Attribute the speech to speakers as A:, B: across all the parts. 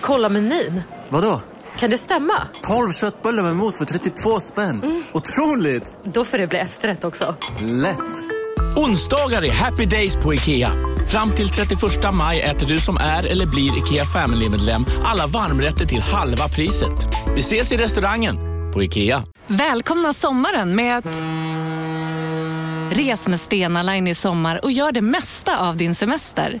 A: Kolla menyn.
B: Vadå?
A: Kan det stämma?
B: 12 köttbullar med mos för 32 spänn. Otroligt!
A: Då får det bli efterrätt också.
B: Lätt!
C: Onsdagar är happy days på IKEA. Fram till 31 maj äter du som är eller blir IKEA Family-medlem alla varmrätter till halva priset. Vi ses i restaurangen på IKEA.
D: Välkomna sommaren med att... Res med Stena Line i sommar och gör det mesta av din semester.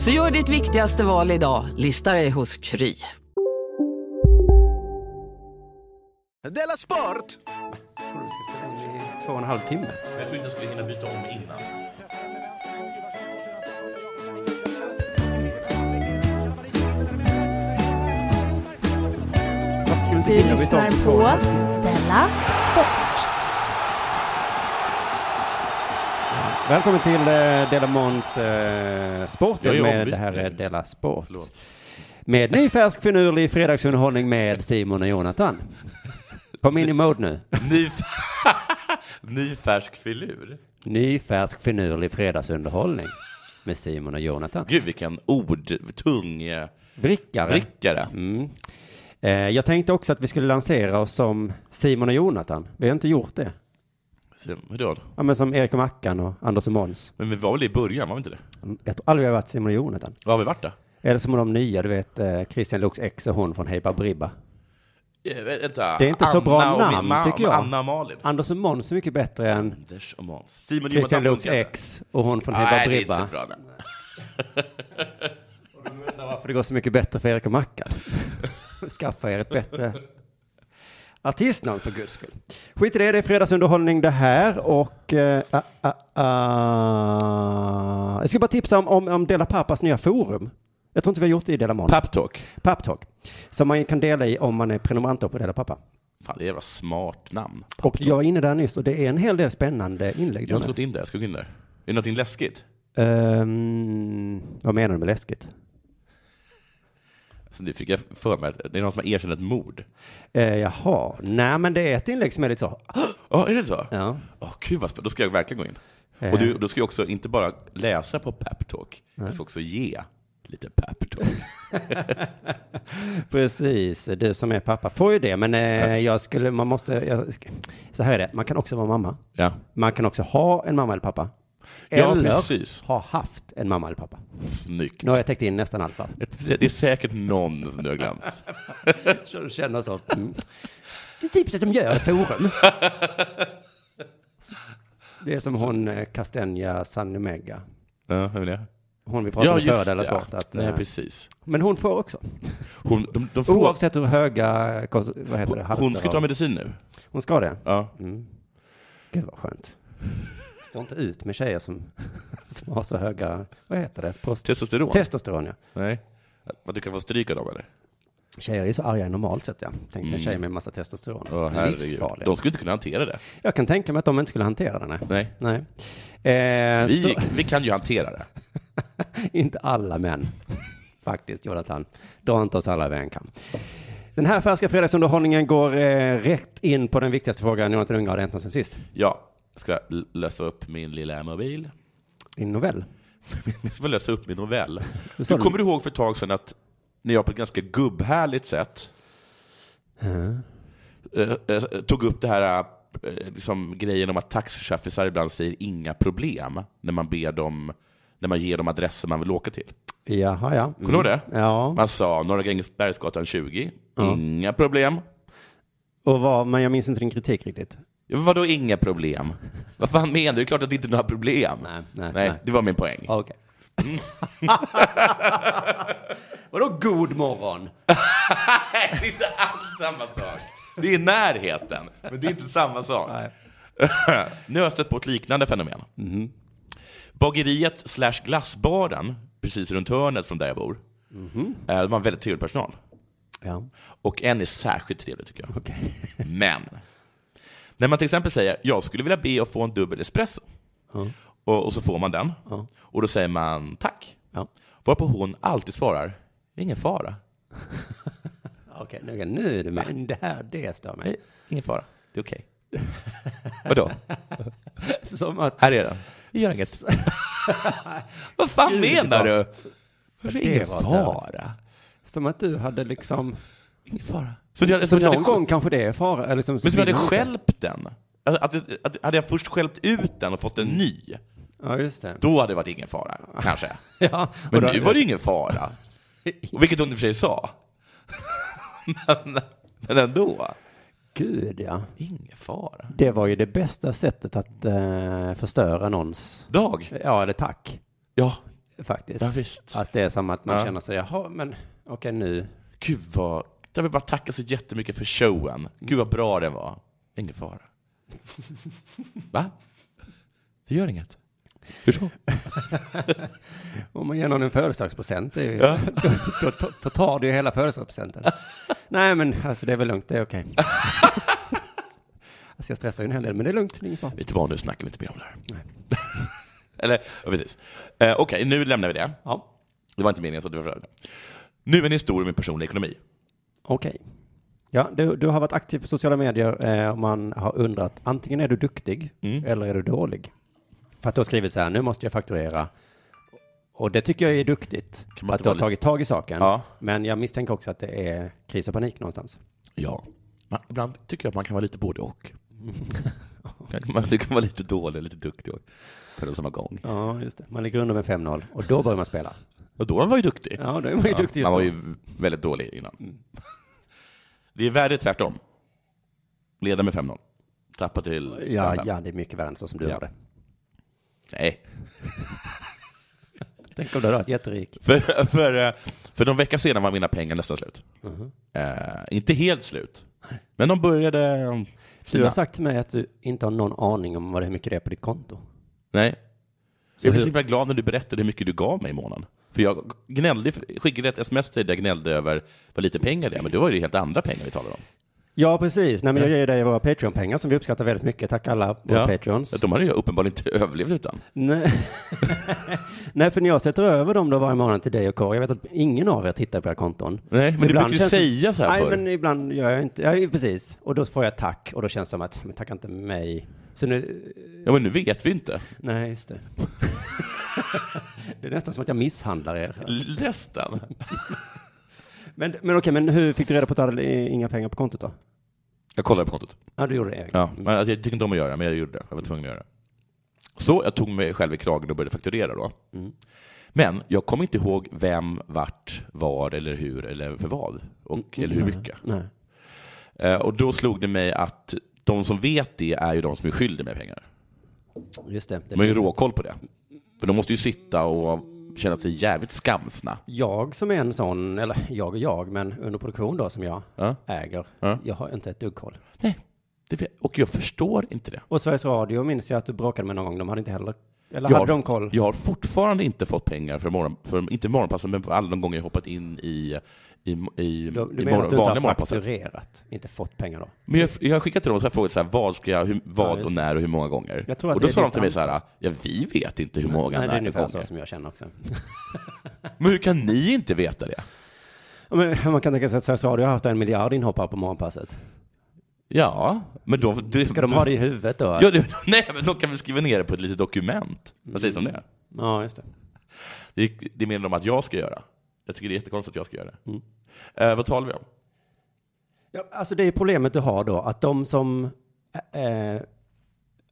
E: Så gör ditt viktigaste val idag, listar dig hos Kry.
F: Della Sport!
G: tror du ska spela in i två och en halv timme.
H: Jag trodde jag skulle hinna byta om innan.
G: Varför skulle inte
I: Du
G: killen byta om
I: lyssnar
G: till två och
I: på
G: en halv timme?
I: Della Sport.
G: Välkommen till eh, Della Måns eh,
H: Jag
G: Sporten
H: är
G: med
H: ombytt
G: det här
H: nu.
G: är Della Sport.
H: Förlåt.
G: Med ny färsk finurlig fredagsunderhållning med Simon och Jonathan. Kom in i mode nu.
H: Ny, Ny färsk filur.
G: Ny färsk finurlig fredagsunderhållning med Simon och Jonathan.
H: Gud, vilken ord, tung, eh,
G: Vrickare.
H: vrickare.
G: Mm. Eh, jag tänkte också att vi skulle lansera oss som Simon och Jonathan. Vi har inte gjort det.
H: Vadå?
G: Ja, men som Erik och Mackan och Anders och Måns.
H: Men vi var väl i början, var vi inte det?
G: Jag tror aldrig vi har varit Simon och Jonathan.
H: Vad har vi varit då?
G: Eller som de nya, du vet eh, Christian Luuks ex och hon från Hej Bribba.
H: Eh, vä- Vänta.
G: Det är inte så bra
H: och min
G: namn,
H: ma-
G: tycker jag.
H: Anna och Malin.
G: Anders och Måns är mycket bättre än
H: Anders och Måns. Simon
G: Christian
H: Jonathan
G: Luuks
H: funkar inte.
G: ex och hon från Hej
H: Nej, det är
G: Bribba.
H: inte bra namn.
G: Varför det går så mycket bättre för Erik och Mackan. Skaffa er ett bättre artistnamn för guds skull. Skit i det, det är fredagsunderhållning det här och... eh, ah, ah, ah. Jag ska bara tipsa om, om, om Dela Pappas nya forum. Jag tror inte vi har gjort det i Dela Mån.
H: Paptalk.
G: Papptalk. Som man kan dela i om man är prenumerant på Dela Pappa.
H: Fan, det är ett jävla smart namn.
G: Och jag är inne där nyss och det är en hel del spännande inlägg.
H: Jag har
G: där nu.
H: inte gått in där, jag ska gå in där. Är det någonting läskigt?
G: Ehm, vad menar du med läskigt?
H: Alltså, nu fick jag för mig att det är någon som har erkänt ett mord.
G: Eh, jaha, nej men det är ett inlägg som är lite så.
H: Ja, är det så?
G: Ja.
H: Åh, gud vad spännande. Då ska jag verkligen gå in.
G: Eh.
H: Och du, då ska jag också inte bara läsa på peptalk, jag ska också ge lite peptalk.
G: Precis, du som är pappa får ju det, men eh, jag skulle, man måste, jag, sk- så här är det, man kan också vara mamma.
H: Ja.
G: Man kan också ha en mamma eller pappa.
H: Ja,
G: eller
H: precis.
G: ha haft en mamma eller pappa.
H: Snyggt.
G: Nu har jag täckt in nästan allt va?
H: Det är säkert någon som du har glömt.
G: Så du känner så. Mm. Det är typiskt att de gör ett forum. Det är som hon eh, Castenja Sanemega.
H: Ja, hur är det?
G: Hon vi pratade om förr, eller sport. Att,
H: Nej,
G: eh,
H: precis.
G: men hon får också.
H: Hon, de, de får,
G: Oavsett hur höga, kons- vad heter det, halter
H: hon ska
G: av-
H: ta medicin nu.
G: Hon ska det?
H: Ja.
G: Mm. Gud vad skönt. Står inte ut med tjejer som, som har så höga, vad heter det? Prost-
H: Testosteron?
G: Testosteron ja.
H: Nej. Att du kan få stryk av dem eller?
G: Tjejer är ju så arga normalt sett ja. Tänk dig en tjej med massa testosteron.
H: Mm. Åh, herregud.
G: Livsfarliga.
H: De skulle inte kunna hantera det.
G: Jag kan tänka mig att de inte skulle hantera den. Nej.
H: Nej.
G: nej. Eh,
H: Vi,
G: så,
H: vi kan ju hantera det.
G: inte alla män. Faktiskt Jonathan. Dra inte oss alla över en kam. Den här färska fredagsunderhållningen går eh, rätt in på den viktigaste frågan Jonathan Unge har hänt någonsin sist.
H: Ja, jag ska l- läsa upp min lilla mobil.
G: Din novell.
H: Jag ska läsa upp min novell.
G: Det sa
H: Du
G: du.
H: kommer ihåg för ett tag sedan att när jag på ett ganska gubbhärligt sätt eh, eh, tog upp det här eh, liksom, grejen om att taxichaffisar ibland säger inga problem när man ber dem när man ger dem adresser man vill åka till.
G: Jaha ja.
H: Kommer du ihåg det?
G: Mm. Ja.
H: Man sa Norra Grängesbergsgatan 20, inga problem.
G: Och vad, men jag minns inte din kritik riktigt.
H: Ja, Vadå inga problem? Vad fan menar du? Det är klart att det inte är några problem.
G: Nej, nej, nej.
H: Det var min poäng.
G: Okej. Vadå god morgon?
H: Nej, det är inte alls samma sak. Det är närheten, men det är inte samma sak.
G: Nej.
H: nu har jag stött på ett liknande fenomen.
G: Mhm.
H: Bageriet slash
G: Mhm.
H: glassbaren, precis runt hörnet från där jag bor, eh, de har väldigt trevlig personal.
G: Ja.
H: Och en är särskilt trevlig tycker jag.
G: Okej.
H: Men, när man till exempel säger jag skulle vilja be att få en dubbel espresso. Och, och så får man den. Och då säger man tack.
G: Ja.
H: Varpå hon alltid svarar, "Det är ingen fara.
G: Okej, nu, nu är du med. Det här, det stör
H: Nej,
G: mig.
H: ingen fara. Det är okej. Vadå?
G: Som att...
H: Här är den. Jag gör inget. Vad fan
G: Gud,
H: menar
G: vad-
H: du? Det är ingen
G: var
H: fara.
G: Som att du hade liksom...
H: Ingen fara. Som att jag,
G: Så
H: som att jag
G: någon
H: hade,
G: gång kanske det är fara. eller Liksom,
H: Men som jag hade
G: vill-
H: skälpt den. Att, att, att, hade jag först skälpt ut den och fått en ny,
G: Ja, just det.
H: då hade det varit ingen fara, kanske.
G: Ja,
H: Men
G: och då-
H: nu var det ju ingen fara. Och vilket hon i och för sig sa. men, men ändå.
G: Gud, ja.
H: Ingen fara.
G: Det var ju det bästa sättet att eh, förstöra någons...
H: Dag?
G: Ja, eller tack,
H: Ja,
G: faktiskt.
H: ja visst.
G: Att det är som att man
H: Ja.
G: känner sig, jaha, men okej nu.
H: Gud vad... Jag vill bara tacka så jättemycket för showen. Gud vad bra den var. Ingen fara. Va? Det gör inget. Hur så?
G: Om man ger någon en födelsedagspresent, det är ju-
H: Ja.
G: då, då, ta- då tar du ju hela födelsedagspresenten. Nej, men alltså det är väl lugnt, det är okej. alltså jag stressar ju en hel del, men det är lugnt, det är ingen fara.
H: Vet du vad, nu snackar vi inte mer om det här.
G: Nej.
H: Eller, ja, precis. Eh, Okej, nu lämnar vi det.
G: Ja,
H: Det var inte meningen så det var förra. Nu en historia om min personliga ekonomi.
G: okej. Ja, du, du har varit aktiv på sociala medier eh, och man har undrat, antingen är du duktig
H: Mm.
G: eller är du dålig? För att du har skrivit så här, nu måste jag fakturera. Och det tycker jag är duktigt,
H: Kan man
G: att
H: inte
G: du har
H: vara
G: tagit tag i saken.
H: Ja.
G: Men jag misstänker också att det är kris och panik någonstans.
H: Ja. Man, ibland tycker jag att man kan vara lite både och. Man, du kan vara lite dålig och lite duktig och- på den samma gång.
G: Ja, just det. Man ligger under med 5-0 och då börjar man spela.
H: Och då var man ju duktig.
G: Ja, då är man ju duktig just
H: man var
G: då. Mm.
H: ju väldigt dålig innan. Det är värre tvärtom. Leda med 5-0. Tappa till
G: Ja,
H: 5-5.
G: ja, det är mycket värre än så som du
H: Ja.
G: har det.
H: Nej.
G: Tänk om du hade varit jätterik.
H: För, för, eh, för någon vecka sedan var mina pengar nästan slut.
G: Mm-hmm.
H: Eh, inte helt slut. Men de började...
G: Du
H: eh,
G: har
H: sina.
G: sagt till mig att du inte har någon aning om vad det är mycket det är på ditt konto.
H: Nej. jag blev
G: hur-
H: så himla glad när du berättade hur mycket du gav mig i månaden. För jag gnällde, skickade ett sms till dig där jag gnällde över vad lite pengar det är, men det var ju helt andra pengar vi talade om.
G: Ja, precis. Nej, men jag ger ju dig våra Patreon-pengar som vi uppskattar väldigt mycket. Tack alla våra Patreons.
H: De hade ju uppenbarligen inte överlevt utan.
G: Nej. Nej, för när jag sätter över dem då varje månad till dig och Kåre, jag vet att ingen av er tittar på era konton.
H: Nej, men du
G: ibland
H: brukar ju
G: känns det-
H: säga så här
G: Nej,
H: förr.
G: men ibland gör jag inte, ja, precis. Och då får jag tack och då känns det som att, men tacka inte mig. Så nu,
H: Ja, men nu vet vi inte.
G: Nej, just det. det är nästan som att jag misshandlar er.
H: Nästan.
G: Men, men okej, men hur fick du reda på att du hade i- inga pengar på kontot då?
H: Jag kollade på kontot.
G: Ja, du gjorde det.
H: Ja, men alltså, jag tycker inte om att göra det, men jag gjorde det. Jag var tvungen att göra det. Så jag tog mig själv i kragen och började fakturera då. Men jag kommer inte ihåg vem, vart, var eller hur eller för vad. Och, eller hur mycket.
G: Nej.
H: Eh, Och då slog det mig att de som vet det är ju de som är skyldiga med pengar.
G: Just det. det
H: De har ju
G: finns-
H: råkoll på det. För de måste ju sitta och känna sig jävligt skamsna.
G: jag som är en sån, eller jag och jag, men under produktion då som jag
H: Ja.
G: äger,
H: Ja.
G: jag har inte ett dugg koll.
H: Nej, det vet- och jag förstår inte det.
G: Och Sveriges Radio minns jag att du bråkade med någon gång, de hade inte heller, eller hade
H: Jag har,
G: de koll?
H: jag har fortfarande inte fått pengar för, morgon, för inte morgonpasset, men för alla de gånger jag hoppat in i, i, i,
G: Du,
H: i
G: du menar
H: morgon-
G: att du inte
H: vanliga
G: har
H: morgonpasset.
G: fakturerat, inte fått pengar då?
H: Men jag, jag har skickat till dem och så har jag frågat så här, vad, ska jag, hur, vad
G: just
H: och
G: det.
H: när och hur många gånger.
G: Jag tror att
H: och då
G: det är
H: sa de
G: ditt
H: till mig så här, ja, vi vet inte hur
G: Nej,
H: många
G: det är
H: när och
G: ungefär så
H: gånger.
G: som jag känner också.
H: Men hur kan ni inte veta det?
G: Ja, Men man kan tänka sig att Sveriges Radio har haft en miljard inhoppare på morgonpasset.
H: Ja, men då... Det,
G: Ska de ha det i huvudet då?
H: Ja, det, nej, men de kan väl skriva ner det på ett litet dokument. Vad sägs om
G: Mm.
H: det?
G: Ja, just det.
H: Det, det menar de att jag ska göra. Jag tycker det är jättekonstigt att jag ska göra det.
G: Mm.
H: Eh, vad talar vi om?
G: Ja, alltså det är problemet du har då, att de som eh,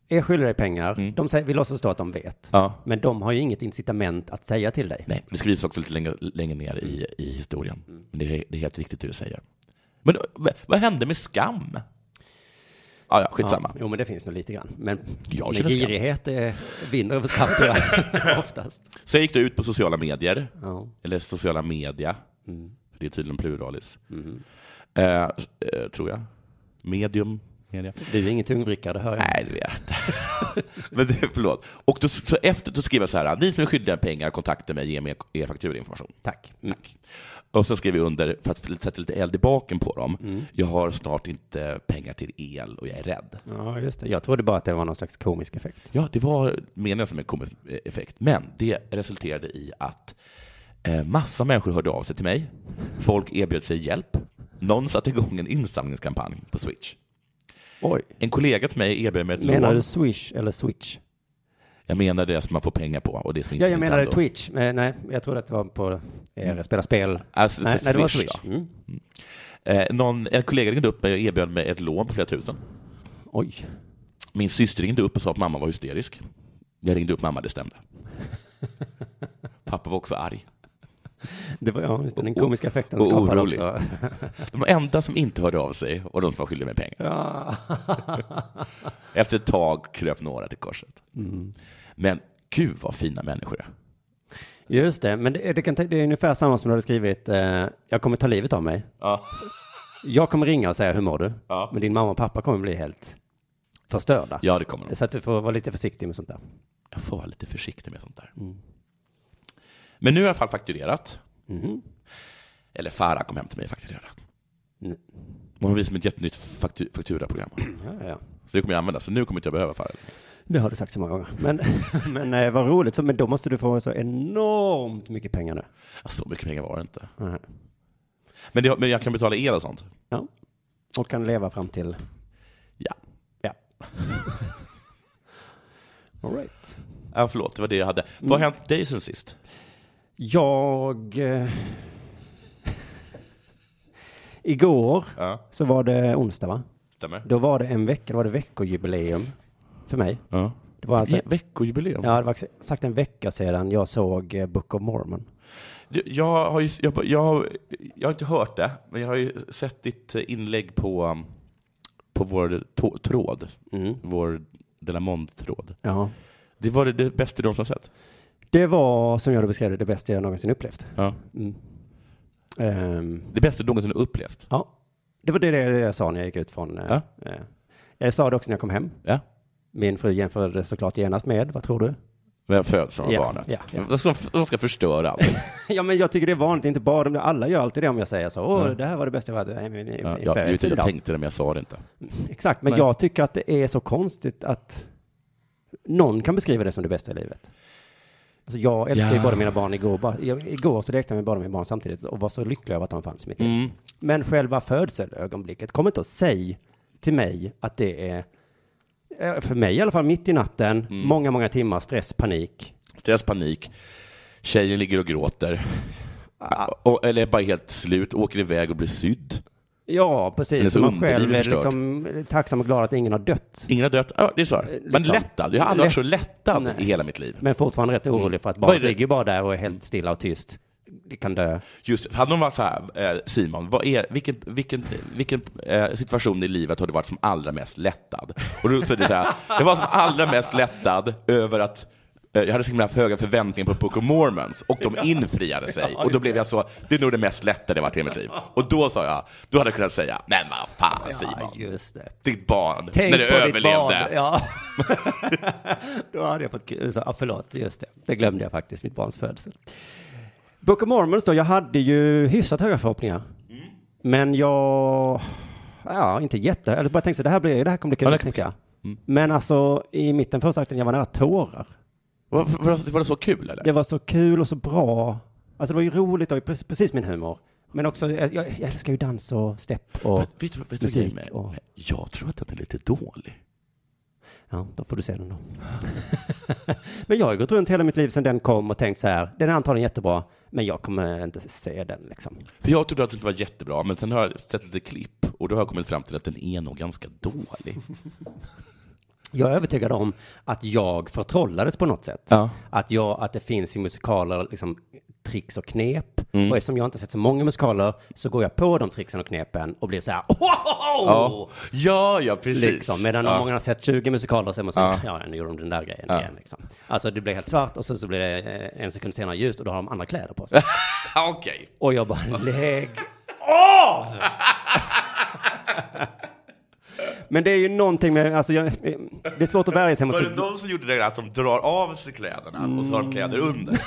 G: är skyldiga dig pengar,
H: Mm.
G: de säger, vi låtsas då att de vet.
H: Ja.
G: Men de har ju inget incitament att säga till dig.
H: Nej, det skrivs också lite längre, längre ner
G: Mm.
H: i, i historien. Men det, är- det är helt riktigt det du säger. Men v- vad hände med skam? Ah, ja, skitsamma.
G: Ja, jo, men det finns nog lite grann. Men,
H: Jag
G: men
H: känner skam.
G: girighet är, vinner över skam tror jag, oftast.
H: Så jag gick då ut på sociala medier,
G: Ja. Mm.
H: eller sociala media. Det är tydligen pluralis. Eh, eh, tror jag. Medium. media.
G: Du är ingen tungvrickare, det hör jag.
H: Nej, det vet jag inte. Men det, förlåt. Och då, så efter, då skriver jag så här, ni som är skyldiga pengar, kontakta mig, ge mig er fakturainformation.
G: Tack.
H: Tack. Och så skriver jag under, för att sätta lite eld i baken på dem,
G: Mm.
H: jag har snart inte pengar till el och jag är rädd.
G: Ja, just det. Jag trodde bara att det var någon slags komisk effekt.
H: Ja, det var meningen som en komisk eh, effekt. Men det resulterade i att eh, massa människor hörde av sig till mig. Folk erbjöd sig hjälp. Någon satte igång en insamlingskampanj på Switch.
G: Oj.
H: En kollega till mig erbjöd mig ett
G: Menar
H: lån.
G: du Swish eller Switch?
H: Jag menar det som man får pengar på och det som inte
G: Ja, jag menade
H: Nintendo.
G: Twitch. Men, nej, jag trodde att det var på eh, spela spel.
H: Alltså,
G: nej, nej, det var
H: Swish,
G: Swish. Mm.
H: Eh, någon, en kollega ringde upp mig och erbjöd mig ett lån på flera tusen.
G: Oj.
H: Min syster ringde upp och sa att mamma var hysterisk. Jag ringde upp mamma, det stämde. Pappa var också arg.
G: Det var, ja, just det, den komiska effekten
H: och
G: skapade
H: orolig.
G: också.
H: De enda som inte hörde av sig var de som var skyldiga mig pengar.
G: Ja.
H: Efter ett tag kröp några till korset.
G: Mm.
H: Men gud vad fina människor är.
G: Just det, men det, det, kan, ta- det är ungefär samma som du hade skrivit, eh, jag kommer ta livet av mig.
H: Ja.
G: Jag kommer ringa och säga hur mår du?
H: Ja.
G: Men din mamma och pappa kommer bli helt förstörda.
H: ja, det kommer de.
G: Så att du får vara lite försiktig med sånt där.
H: Jag får vara lite försiktig med sånt där.
G: Mm.
H: Men nu har jag i alla fall fakturerat.
G: Mhm.
H: Eller Farah kom hem till mig och fakturerade.
G: Mm.
H: Och hon visade mig ett jättenytt faktu- fakturaprogram.
G: Ja, ja, ja.
H: Så det kommer jag använda, så nu kommer inte jag behöva Farah.
G: Det har du sagt så många gånger. Men, men eh, vad roligt, så, men då måste du få så enormt mycket pengar nu.
H: Ja, Så mycket pengar var det inte.
G: Nej.
H: Men, det, men jag kan betala el och sånt.
G: Ja. Och kan leva fram till...
H: Ja.
G: Ja. All right.
H: ja förlåt, det var det jag hade. Vad har
G: Mm.
H: hänt dig sen sist?
G: Jag... Eh, igår
H: Ja.
G: så var det onsdag, va?
H: Stämmer?
G: Då var det en vecka, då var det veckojubileum för mig.
H: Ja.
G: Det var alltså,
H: Ja, Veckojubileum.
G: ja, det var exakt en vecka sedan jag såg eh, Book of Mormon.
H: Du, Jag har, ju, jag, jag, har- jag har inte hört det, men jag har ju sett ditt inlägg på, um, på vår tå- tråd,
G: Mm.
H: vår Delamont-tråd.
G: Ja.
H: Det var det, det bästa du någonsin har sett.
G: Det var, som jag då beskrev det, det bästa jag någonsin upplevt.
H: Ja.
G: Ehm,
H: Det bästa du någonsin har upplevt.
G: ja, det var det, det jag sa när jag gick ut från... eh, eh, jag sa det också när jag kom hem.
H: Ja.
G: Min fru jämförde det såklart genast med, vad tror du?
H: Med födseln av
G: Ja,
H: barnet.
G: ja, ja.
H: De, ska, de ska förstöra allt.
G: ja, men jag tycker det är vanligt, inte bara de, alla gör alltid det om jag säger så. Åh, det här var det bästa jag varit i- i- i-
H: Ja,
G: i-
H: jag,
G: för
H: jag,
G: tid
H: jag
G: av."
H: tänkte det, men jag sa det inte.
G: Exakt, men
H: Nej.
G: jag tycker att det är så konstigt att någon kan beskriva det som det bästa i livet. Alltså jag älskar ju
H: Ja.
G: båda mina barn igår. Bara, jag, igår så lekte jag med båda mina barn samtidigt och var så lycklig över att de fanns i mitt liv.
H: Mm.
G: Men själva födselögonblicket, kom inte och säg till mig att det är, eh, för mig i alla fall, mitt i natten,
H: Mm.
G: många, många timmar stress, panik.
H: Stress, panik. Tjejen ligger och gråter. Och, eller är bara helt slut, åker iväg och blir sydd.
G: Ja,
H: Eller
G: precis.
H: så
G: Så man
H: underlivet
G: själv är
H: förstört.
G: liksom tacksam och glad att ingen har dött.
H: Ingen har dött. Ja, det är så. här. Men
G: liksom-
H: lättad. Jag har aldrig varit så
G: Lätt-
H: lättad
G: Nej.
H: i hela mitt liv.
G: Men fortfarande rätt orolig för att
H: Vad är
G: barnet
H: det-
G: ligger ju bara där och är helt stilla och tyst. Det kan dö.
H: Just, hade de varit så här, eh, Simon, vad är, vilken, vilken, vilken eh, situation i livet har du varit som allra mest lättad? Och då så är det så här, jag var som allra mest lättad över att eh, jag hade så himla höga förväntningar på Book of Mormons och de infriade sig. Och då blev jag så, det är nog det mest lättade jag varit i hela mitt liv. Och då sa jag, då hade jag kunnat säga, men vad fan Simon,
G: just det.
H: ditt barn, när det överlevde.
G: Ja. Då hade jag fått kul. Så, ja, förlåt, just det. Det glömde jag faktiskt, mitt barns födelse. Book of Mormons då, jag hade ju hyfsat höga förhoppningar.
H: Mm.
G: Men jag, ja, inte jätte, eller bara tänkte så det här blir, det här kommer bli kul,
H: Ja, det
G: ja, tänker jag.
H: Mm.
G: Men alltså, i mitten första akten, jag var nära tårar.
H: Var, var, var det så kul eller?
G: Det var så kul och så bra. Alltså det var ju roligt och precis, precis min humor. Men också, jag, jag jag älskar ju dans och stepp och...
H: vet, vet, du- vet du vad
G: musik
H: grejen är?
G: och-
H: Jag tror att den är lite dålig.
G: Ja, då får du se den då. men jag har ju gått runt hela mitt liv sedan den kom och tänkt så här, den är antagligen jättebra, men jag kommer inte se den liksom.
H: För jag trodde att den var jättebra, men sen har jag sett lite klipp och då har jag kommit fram till att den är nog ganska dålig.
G: Jag är övertygad om att jag förtrollades på något sätt.
H: Ja.
G: Att, jag, att det finns i musikaler liksom, tricks och knep. Och eftersom jag inte sett så många musikaler så går jag på de tricksen och knepen och blir så här, "Wow!"
H: Ja, ja, ja precis.
G: Liksom. Medan
H: ja.
G: många har sett 20 musikaler så är man så
H: Ja.
G: ja. ja, nu gjorde de den där grejen igen. Liksom. Alltså det blir helt svart och så, så blir det eh, en sekund senare ljust och då har de andra kläder på sig.
H: Ja, Ah, Okej.
G: Och jag bara, lägg av! Men det är ju någonting med, alltså jag, det är svårt att värja sig mot...
H: Var det de som gjorde det där att de drar av sig kläderna och så har de kläder under?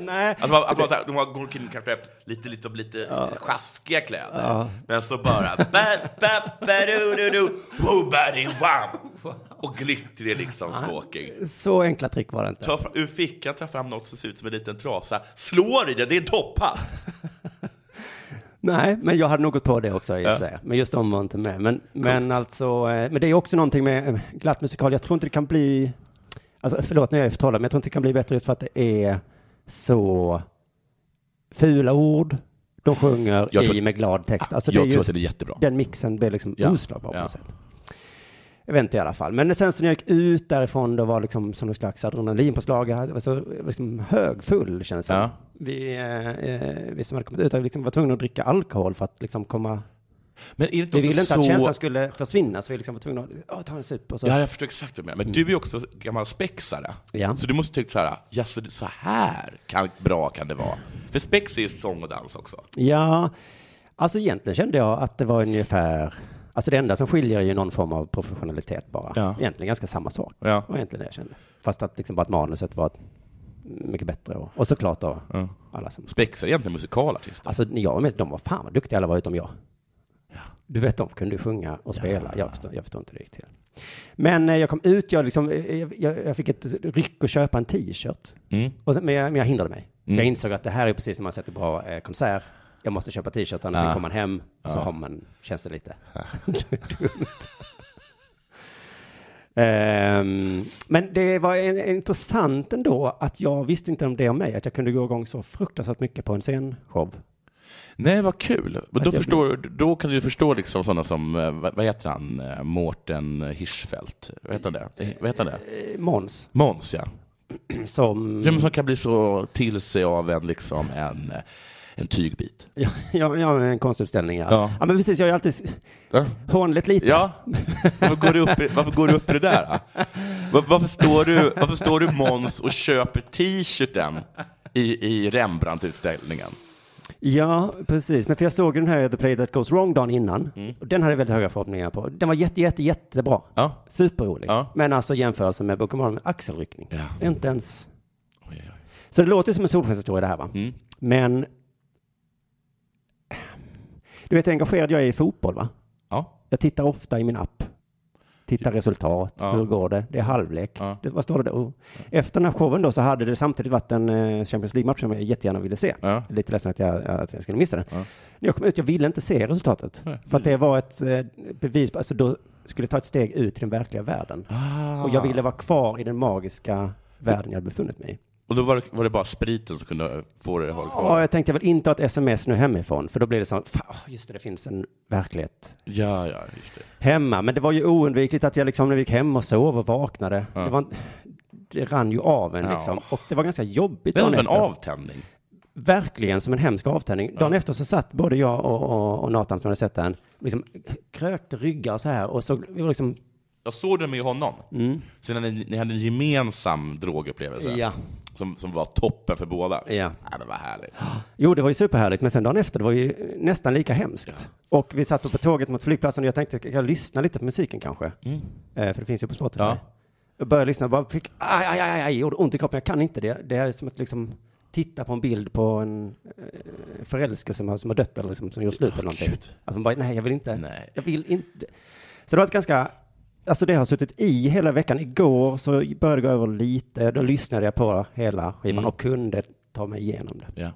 G: Nej.
H: Att man, att man, så här, de har går omkring kanske lite, lite, lite sjaskiga kläder, men så bara... ba, ba, ba, du, du, du, woo, body, wow. oh, Och glittrig liksom smoking.
G: Så enkla trick var det inte.
H: Ta fram, ur fickan tar fram något som ser ut som en liten trasa, slår i det, det är en topphatt!
G: Nej, men jag hade något på det också i och för sig. Men just de var inte med. Men, men alltså, eh, men det är också någonting med eh, glatt musikal. Jag tror inte det kan bli, alltså förlåt när jag är förtalad, men jag tror inte det kan bli bättre just för att det är så fula ord de sjunger
H: Jag tror-
G: i med glad text. Alltså
H: jag
G: det är
H: tror
G: just
H: att det är jättebra.
G: Den mixen blir liksom
H: Ja,
G: oslagbar på
H: ja.
G: något sätt. Jag vet inte i alla fall. Men sen så när jag gick ut därifrån, då var liksom som någon slags adrenalin på slag. Jag var så liksom högfull kändes det
H: Ja.
G: som. vi, eh, eh, vi som hade kommit ut hade liksom var tvungna att dricka alkohol för att liksom komma...
H: Men är det
G: Vi ville inte att känslan
H: så...
G: skulle försvinna, så vi liksom var tvungna att "Åh, ta en sup och så.
H: Ja, jag förstår exakt vad du menar. Men du är ju också gammal spexare.
G: Mm. Ja.
H: Så du måste tycka så här, ja, så, det- så här kan, bra kan det vara. För spex är ju sång och dans också.
G: Ja, alltså egentligen kände jag att det var ungefär, alltså det enda som skiljer är ju någon form av professionalitet bara.
H: Ja.
G: Egentligen ganska samma sak.
H: Ja.
G: Det var egentligen det jag kände. Fast att liksom bara att manuset var mycket bättre och, och såklart då alla som...
H: Spex är egentligen musikalartister.
G: Alltså när jag var med, de var fan vad duktiga alla var utom jag. Du vet, de kunde ju sjunga och spela. Jag förstår, jag förstår inte hur det gick till. Men eh, jag kom ut, jag, liksom, eh, jag- jag, jag fick ett ryck att köpa en t-shirt. Och sen, men, jag, men jag hindrade mig. För jag insåg att det här är precis när man sätter bra eh, konsert. Jag måste köpa t-shirt, annars kommer man hem och så har man, känns det lite. Det är dumt. Ehm, men det var en, en intressant ändå att jag visste inte om det om mig, att jag kunde gå igång så fruktansvärt mycket på en scenshow.
H: Nej, vad kul. Men då,
G: jag-
H: förstår, då kan du förstå liksom sådana som, eh, vad vad heter han, Eh, Mårten Hirschfeldt? Vad heter han det? Eh, Vad heter han det?
G: Eh, mm. Måns,
H: Måns, ja.
G: som...
H: Vem som kan bli så till sig av en, liksom, en, eh, en tygbit.
G: Ja, ja, ja en konstutställning, ja. ja.
H: Ja.
G: men precis, jag är ju alltid
H: Ja.
G: hånligt lite.
H: Ja, varför går du upp i, varför går du upp i det där? då? Var, varför, står du, varför står du Måns och köper t-shirten i, i Rembrandt-utställningen?
G: Ja, precis. Men för jag såg den här The Play That Goes Wrong dagen innan.
H: Mm.
G: Och den hade jag väldigt höga förhoppningar på. Den var jätte, jätte, jättebra.
H: Ja.
G: Superrolig.
H: Ja.
G: Men alltså jämförelsen med Book of Mormon, axelryckning.
H: Ja.
G: Inte ens...
H: Oj, oj, oj.
G: Så det låter ju som en solskenshistoria det här va?
H: Mm.
G: Men... Du vet hur engagerad jag är i fotboll va?
H: Ja.
G: Jag tittar ofta i min app. Tittar resultat,
H: Ja.
G: hur går det? Det är halvlek.
H: Ja.
G: Det, vad står det där? Oh. Efter den här showen då så hade det samtidigt varit en eh, Champions League-match som jag jättegärna ville se.
H: Ja.
G: Lite ledsen att jag, att jag skulle missa den. När jag kom ut, jag ville inte se resultatet. För att det var ett eh, bevis, på- alltså då skulle jag ta ett steg ut i den verkliga världen.
H: Ah.
G: Och jag ville vara kvar i den magiska världen jag hade befunnit mig i.
H: Och då var det, var det bara spriten som kunde få dig att hålla
G: Ja,
H: kvar?
G: jag tänkte väl inte ha ett sms nu hemifrån, för då blir det så, fan, åh, just det, det finns en verklighet
H: Ja, ja, just det.
G: hemma. Men det var ju oundvikligt att jag liksom när vi gick hem och sov och vaknade, det, var, en- det rann ju av en
H: Ja.
G: liksom. Och det var ganska jobbigt
H: Det
G: dagen
H: är som Alltså, en
G: efter.
H: avtändning.
G: Verkligen som en hemsk avtändning. Dagen efter så satt både jag och, och, och Nathan som hade sett den, liksom krökte ryggar så här och så vi var liksom,
H: Jag såg det med honom. Sen när ni, ni hade en gemensam drogupplevelse
G: Mm. Ja.
H: som, som var toppen för båda.
G: Ja.
H: det var härligt.
G: jo det var ju superhärligt, men sen dagen efter det var ju nästan lika hemskt. Och vi satt på tåget mot flygplatsen och jag tänkte, kan jag lyssna lite på musiken kanske? Eh, för det finns ju på Spotify.
H: Mm. Ja.
G: Jag började lyssna och bara fick, aj, aj, aj, aj, gjorde ont i kroppen, jag kan inte det. Det är som att liksom titta på en bild på en eh, förälskelse som har, som har dött eller liksom, som gjort slut eller någonting.
H: Gud.
G: Att man bara, nej jag vill inte,
H: Nej.
G: jag vill inte. Så det var ett ganska, alltså det har suttit i hela veckan. Igår så började det gå över lite, då lyssnade jag på hela skivan
H: Mm.
G: och kunde ta mig igenom det.
H: Ja.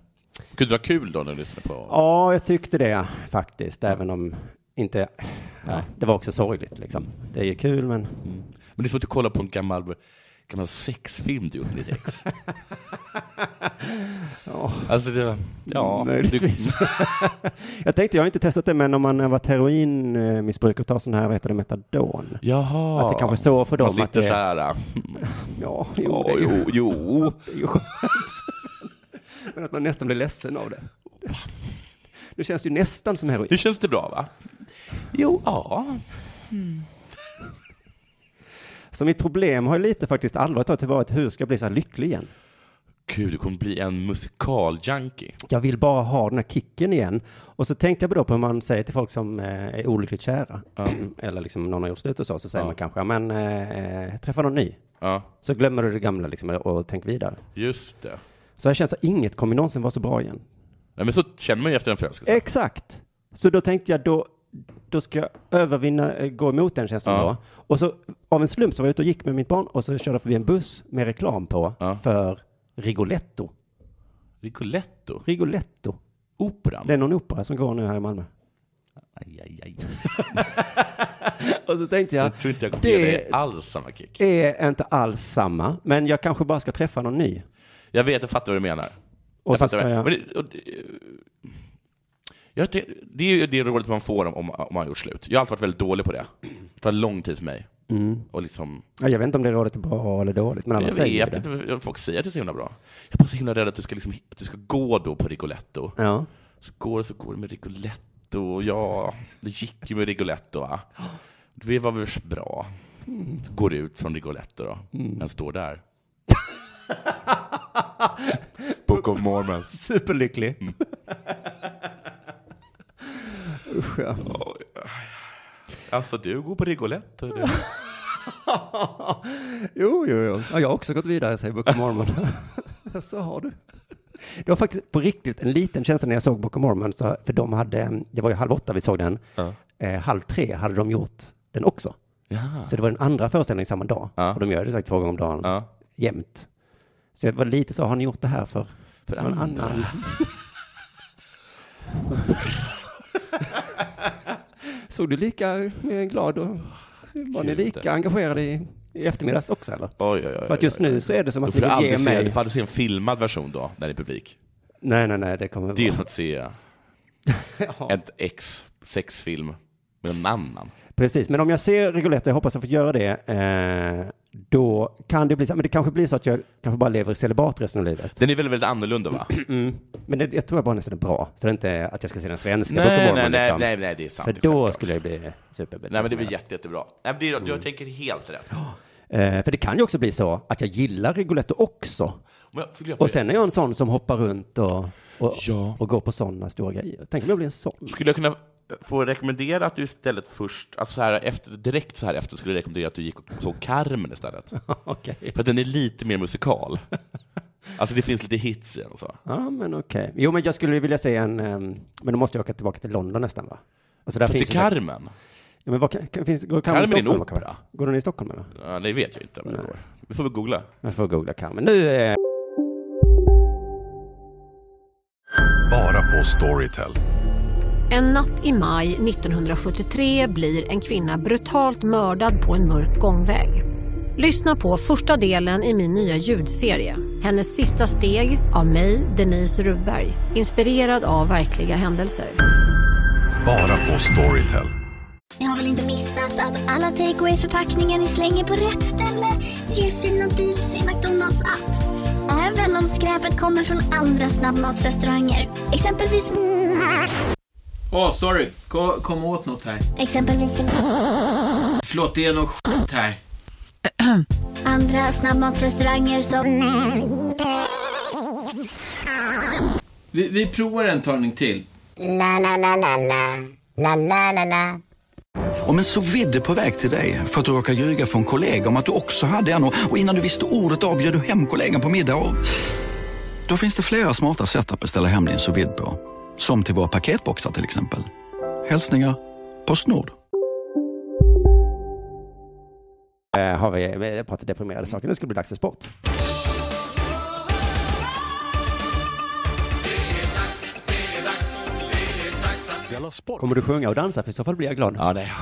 H: Kunde du ha kul då när du lyssnade på?
G: Ja, jag tyckte det faktiskt, även om inte, ja, det var också sorgligt liksom. Det är ju kul men
H: Men det är som att du kollar på en gammal, gammal sexfilm du gjort med ditt ex. Alltså, det, ja.
G: Mm, Möjligtvis.
H: Du,
G: Jag tänkte, jag har inte testat det, men om man har varit heroinmissbrukare och tar sån här, vad heter det, metadon?
H: jaha.
G: Att det kanske är så för dem
H: Man
G: att
H: sitter
G: det-
H: så här. äh, mm.
G: Ja, jo,
H: Ja,
G: det är ju,
H: jo, jo.
G: det är ju skönt. Men att man nästan blir ledsen av det. Nu känns det ju nästan som heroin.
H: Nu känns det bra, va? Jo, ja.
G: Så mitt problem har ju lite faktiskt allvarligt talat varit hur ska jag bli så här lycklig igen?
H: Gud, du kommer bli en musikal-junkie.
G: Jag vill bara ha den här kicken igen. Och så tänkte jag då på hur man säger till folk som eh, är olyckligt kära. Eller liksom någon har gjort slut och så, så säger man kanske, "Ja, men eh, träffa någon ny.
H: Ja,
G: Så glömmer du det gamla liksom, och tänk vidare.
H: just det.
G: Så jag känner så här, inget kommer någonsin vara så bra igen.
H: Nej, men så känner man ju efter en
G: Eh.
H: förälskelse.
G: Exakt. Så då tänkte jag, då, då ska jag övervinna, eh, gå emot den känslan
H: Ja.
G: då. Och så av en slump så var jag ute och gick med mitt barn och så körde jag förbi en buss med reklam på
H: Ja.
G: för Rigoletto.
H: Rigoletto?
G: Rigoletto.
H: Operan?
G: Det är någon opera som går nu här i Malmö.
H: Aj, aj, aj.
G: Och så tänkte jag,
H: Jag tror inte jag kommer ge dig
G: det
H: alls samma kick.
G: är inte alls samma, men jag kanske bara ska träffa någon ny.
H: Jag vet, jag fattar vad du menar.
G: Och så
H: jag
G: ska
H: fattar vad
G: jag,
H: Men det, och, det- jag tänk- det är ju det rådet man får om, om, om man har gjort slut. Jag har alltid varit väldigt dålig på det. Det tar lång tid för mig. Och liksom,
G: Ja, jag vet inte om det rådet är bra eller dåligt, men alla
H: jag
G: säger
H: vet
G: det.
H: inte, folk säger att det är så himla bra. Jag är bara så himla rädd att du ska, liksom, att du ska gå då på Rigoletto.
G: Ja.
H: Så går det så går det med Rigoletto. Och ja, det gick ju med Rigoletto va. Det var väl bra. Så går det ut från Rigoletto då. Den står där. Book of Mormons.
G: Superlycklig. Usch, ja.
H: Alltså du går på Rigoletto. du.
G: Jo, jo, jo. Ja, jag har också gått vidare, säger Book of Mormon. så har du. Det var faktiskt på riktigt en liten känsla när jag såg Book of Mormon, så, för de hade, det var ju halv åtta vi såg den, eh, halv tre hade de gjort den också.
H: Ja.
G: Så det var den andra föreställningen samma dag,
H: Ja.
G: och de gör det säkert två gånger om dagen,
H: Ja.
G: jämt. Så jag var lite så, har ni gjort det här för,
H: För
G: någon
H: andra.
G: annan? såg du lika eh, glad och var ni
H: Gud.
G: lika engagerade i, i eftermiddags också eller?
H: Oj, oj, oj,
G: För att just
H: oj, oj.
G: nu så är det som
H: Då
G: att
H: får
G: ni
H: du
G: vill
H: aldrig
G: ge
H: se, du
G: mig...
H: får aldrig se en filmad version då, när det är publik.
G: Nej, nej, nej, det kommer
H: Det är
G: vara...
H: som att se
G: Ja.
H: ett ex sexfilm med en annan.
G: Precis, men om jag ser Rigoletto, jag hoppas jag får göra det, eh, då kan det bli så, men det kanske blir så att jag kanske bara lever i celibat resten av livet.
H: Den är väldigt, väldigt annorlunda va?
G: Men det, jag tror jag bara nästan är bra, så det är inte att jag ska se den svenska Book of
H: nej,
G: Mormon,
H: nej, nej,
G: liksom.
H: nej, nej, det är sant.
G: För
H: det är
G: då
H: självklart.
G: skulle Mm. jag bli superbedömd.
H: Nej men det blir jätte, jättebra. Nej, men det är, du tänker helt rätt.
G: eh, för det kan ju också bli så att jag gillar Rigoletto också.
H: Men jag, skulle jag,
G: Och sen är jag en sån som hoppar runt och, och,
H: Ja.
G: och går på sådana stora grejer. Tänk om jag blir en sån.
H: skulle jag kunna få rekommendera att du istället först, alltså så här efter, direkt så här efter, skulle jag rekommendera att du gick och såg Carmen istället?
G: okej.
H: För att den är lite mer musikal. Alltså det finns lite hits i den och så.
G: Ja, men okej. Jo, men jag skulle ju vilja se en, ehm, men då måste jag åka tillbaka till London nästan va? Alltså där
H: Fast
G: finns
H: det
G: ju säkert-
H: Carmen?
G: Ja, men vad kan, kan, finns, går
H: Carmen
G: Carmen
H: är
G: i
H: en
G: Stockholm?
H: opera.
G: va? Går den i Stockholm eller?
H: Ja, det vet jag inte. Men det går. Vi får väl googla.
G: Jag får googla Carmen. Nu, eh,
J: Bara på Storytel.
I: En natt i maj 1973 blir en kvinna brutalt mördad på en mörk gångväg. Lyssna på första delen i min nya ljudserie. Hennes sista steg av mig, Denise Rubberg. Inspirerad av verkliga händelser.
J: Bara på Storytel.
K: Ni har väl inte missat att alla takeaway förpackningar ni slänger på rätt ställe ger fina deals i McDonalds app. Även om skräpet kommer från andra snabbmatsrestauranger. Exempelvis...
F: Åh, sorry. Kom, kom åt något här.
K: Exempelvis...
F: Förlåt, det är något skit här.
K: Andra snabbmatsrestauranger som...
F: Vi, vi provar en talning till.
K: La, la, la, la, la. La, la, la, la.
J: Om en så vidde på väg till dig för att du råkar ljuga från kollega om att du också hade en och och innan du visste ordet av bjöd du hem kollegan på middag och... Då finns det flera smarta sätt att beställa hem din sous vide på. Som till våra paketboxar till exempel. Hälsningar Postnord.
G: eh, har vi eh, pratat deprimerade saker. Nu ska det bli dags för sport.
F: Della Sport.
G: Kommer du sjunga och dansa? För i så fall blir jag glad.
H: Ja, nej,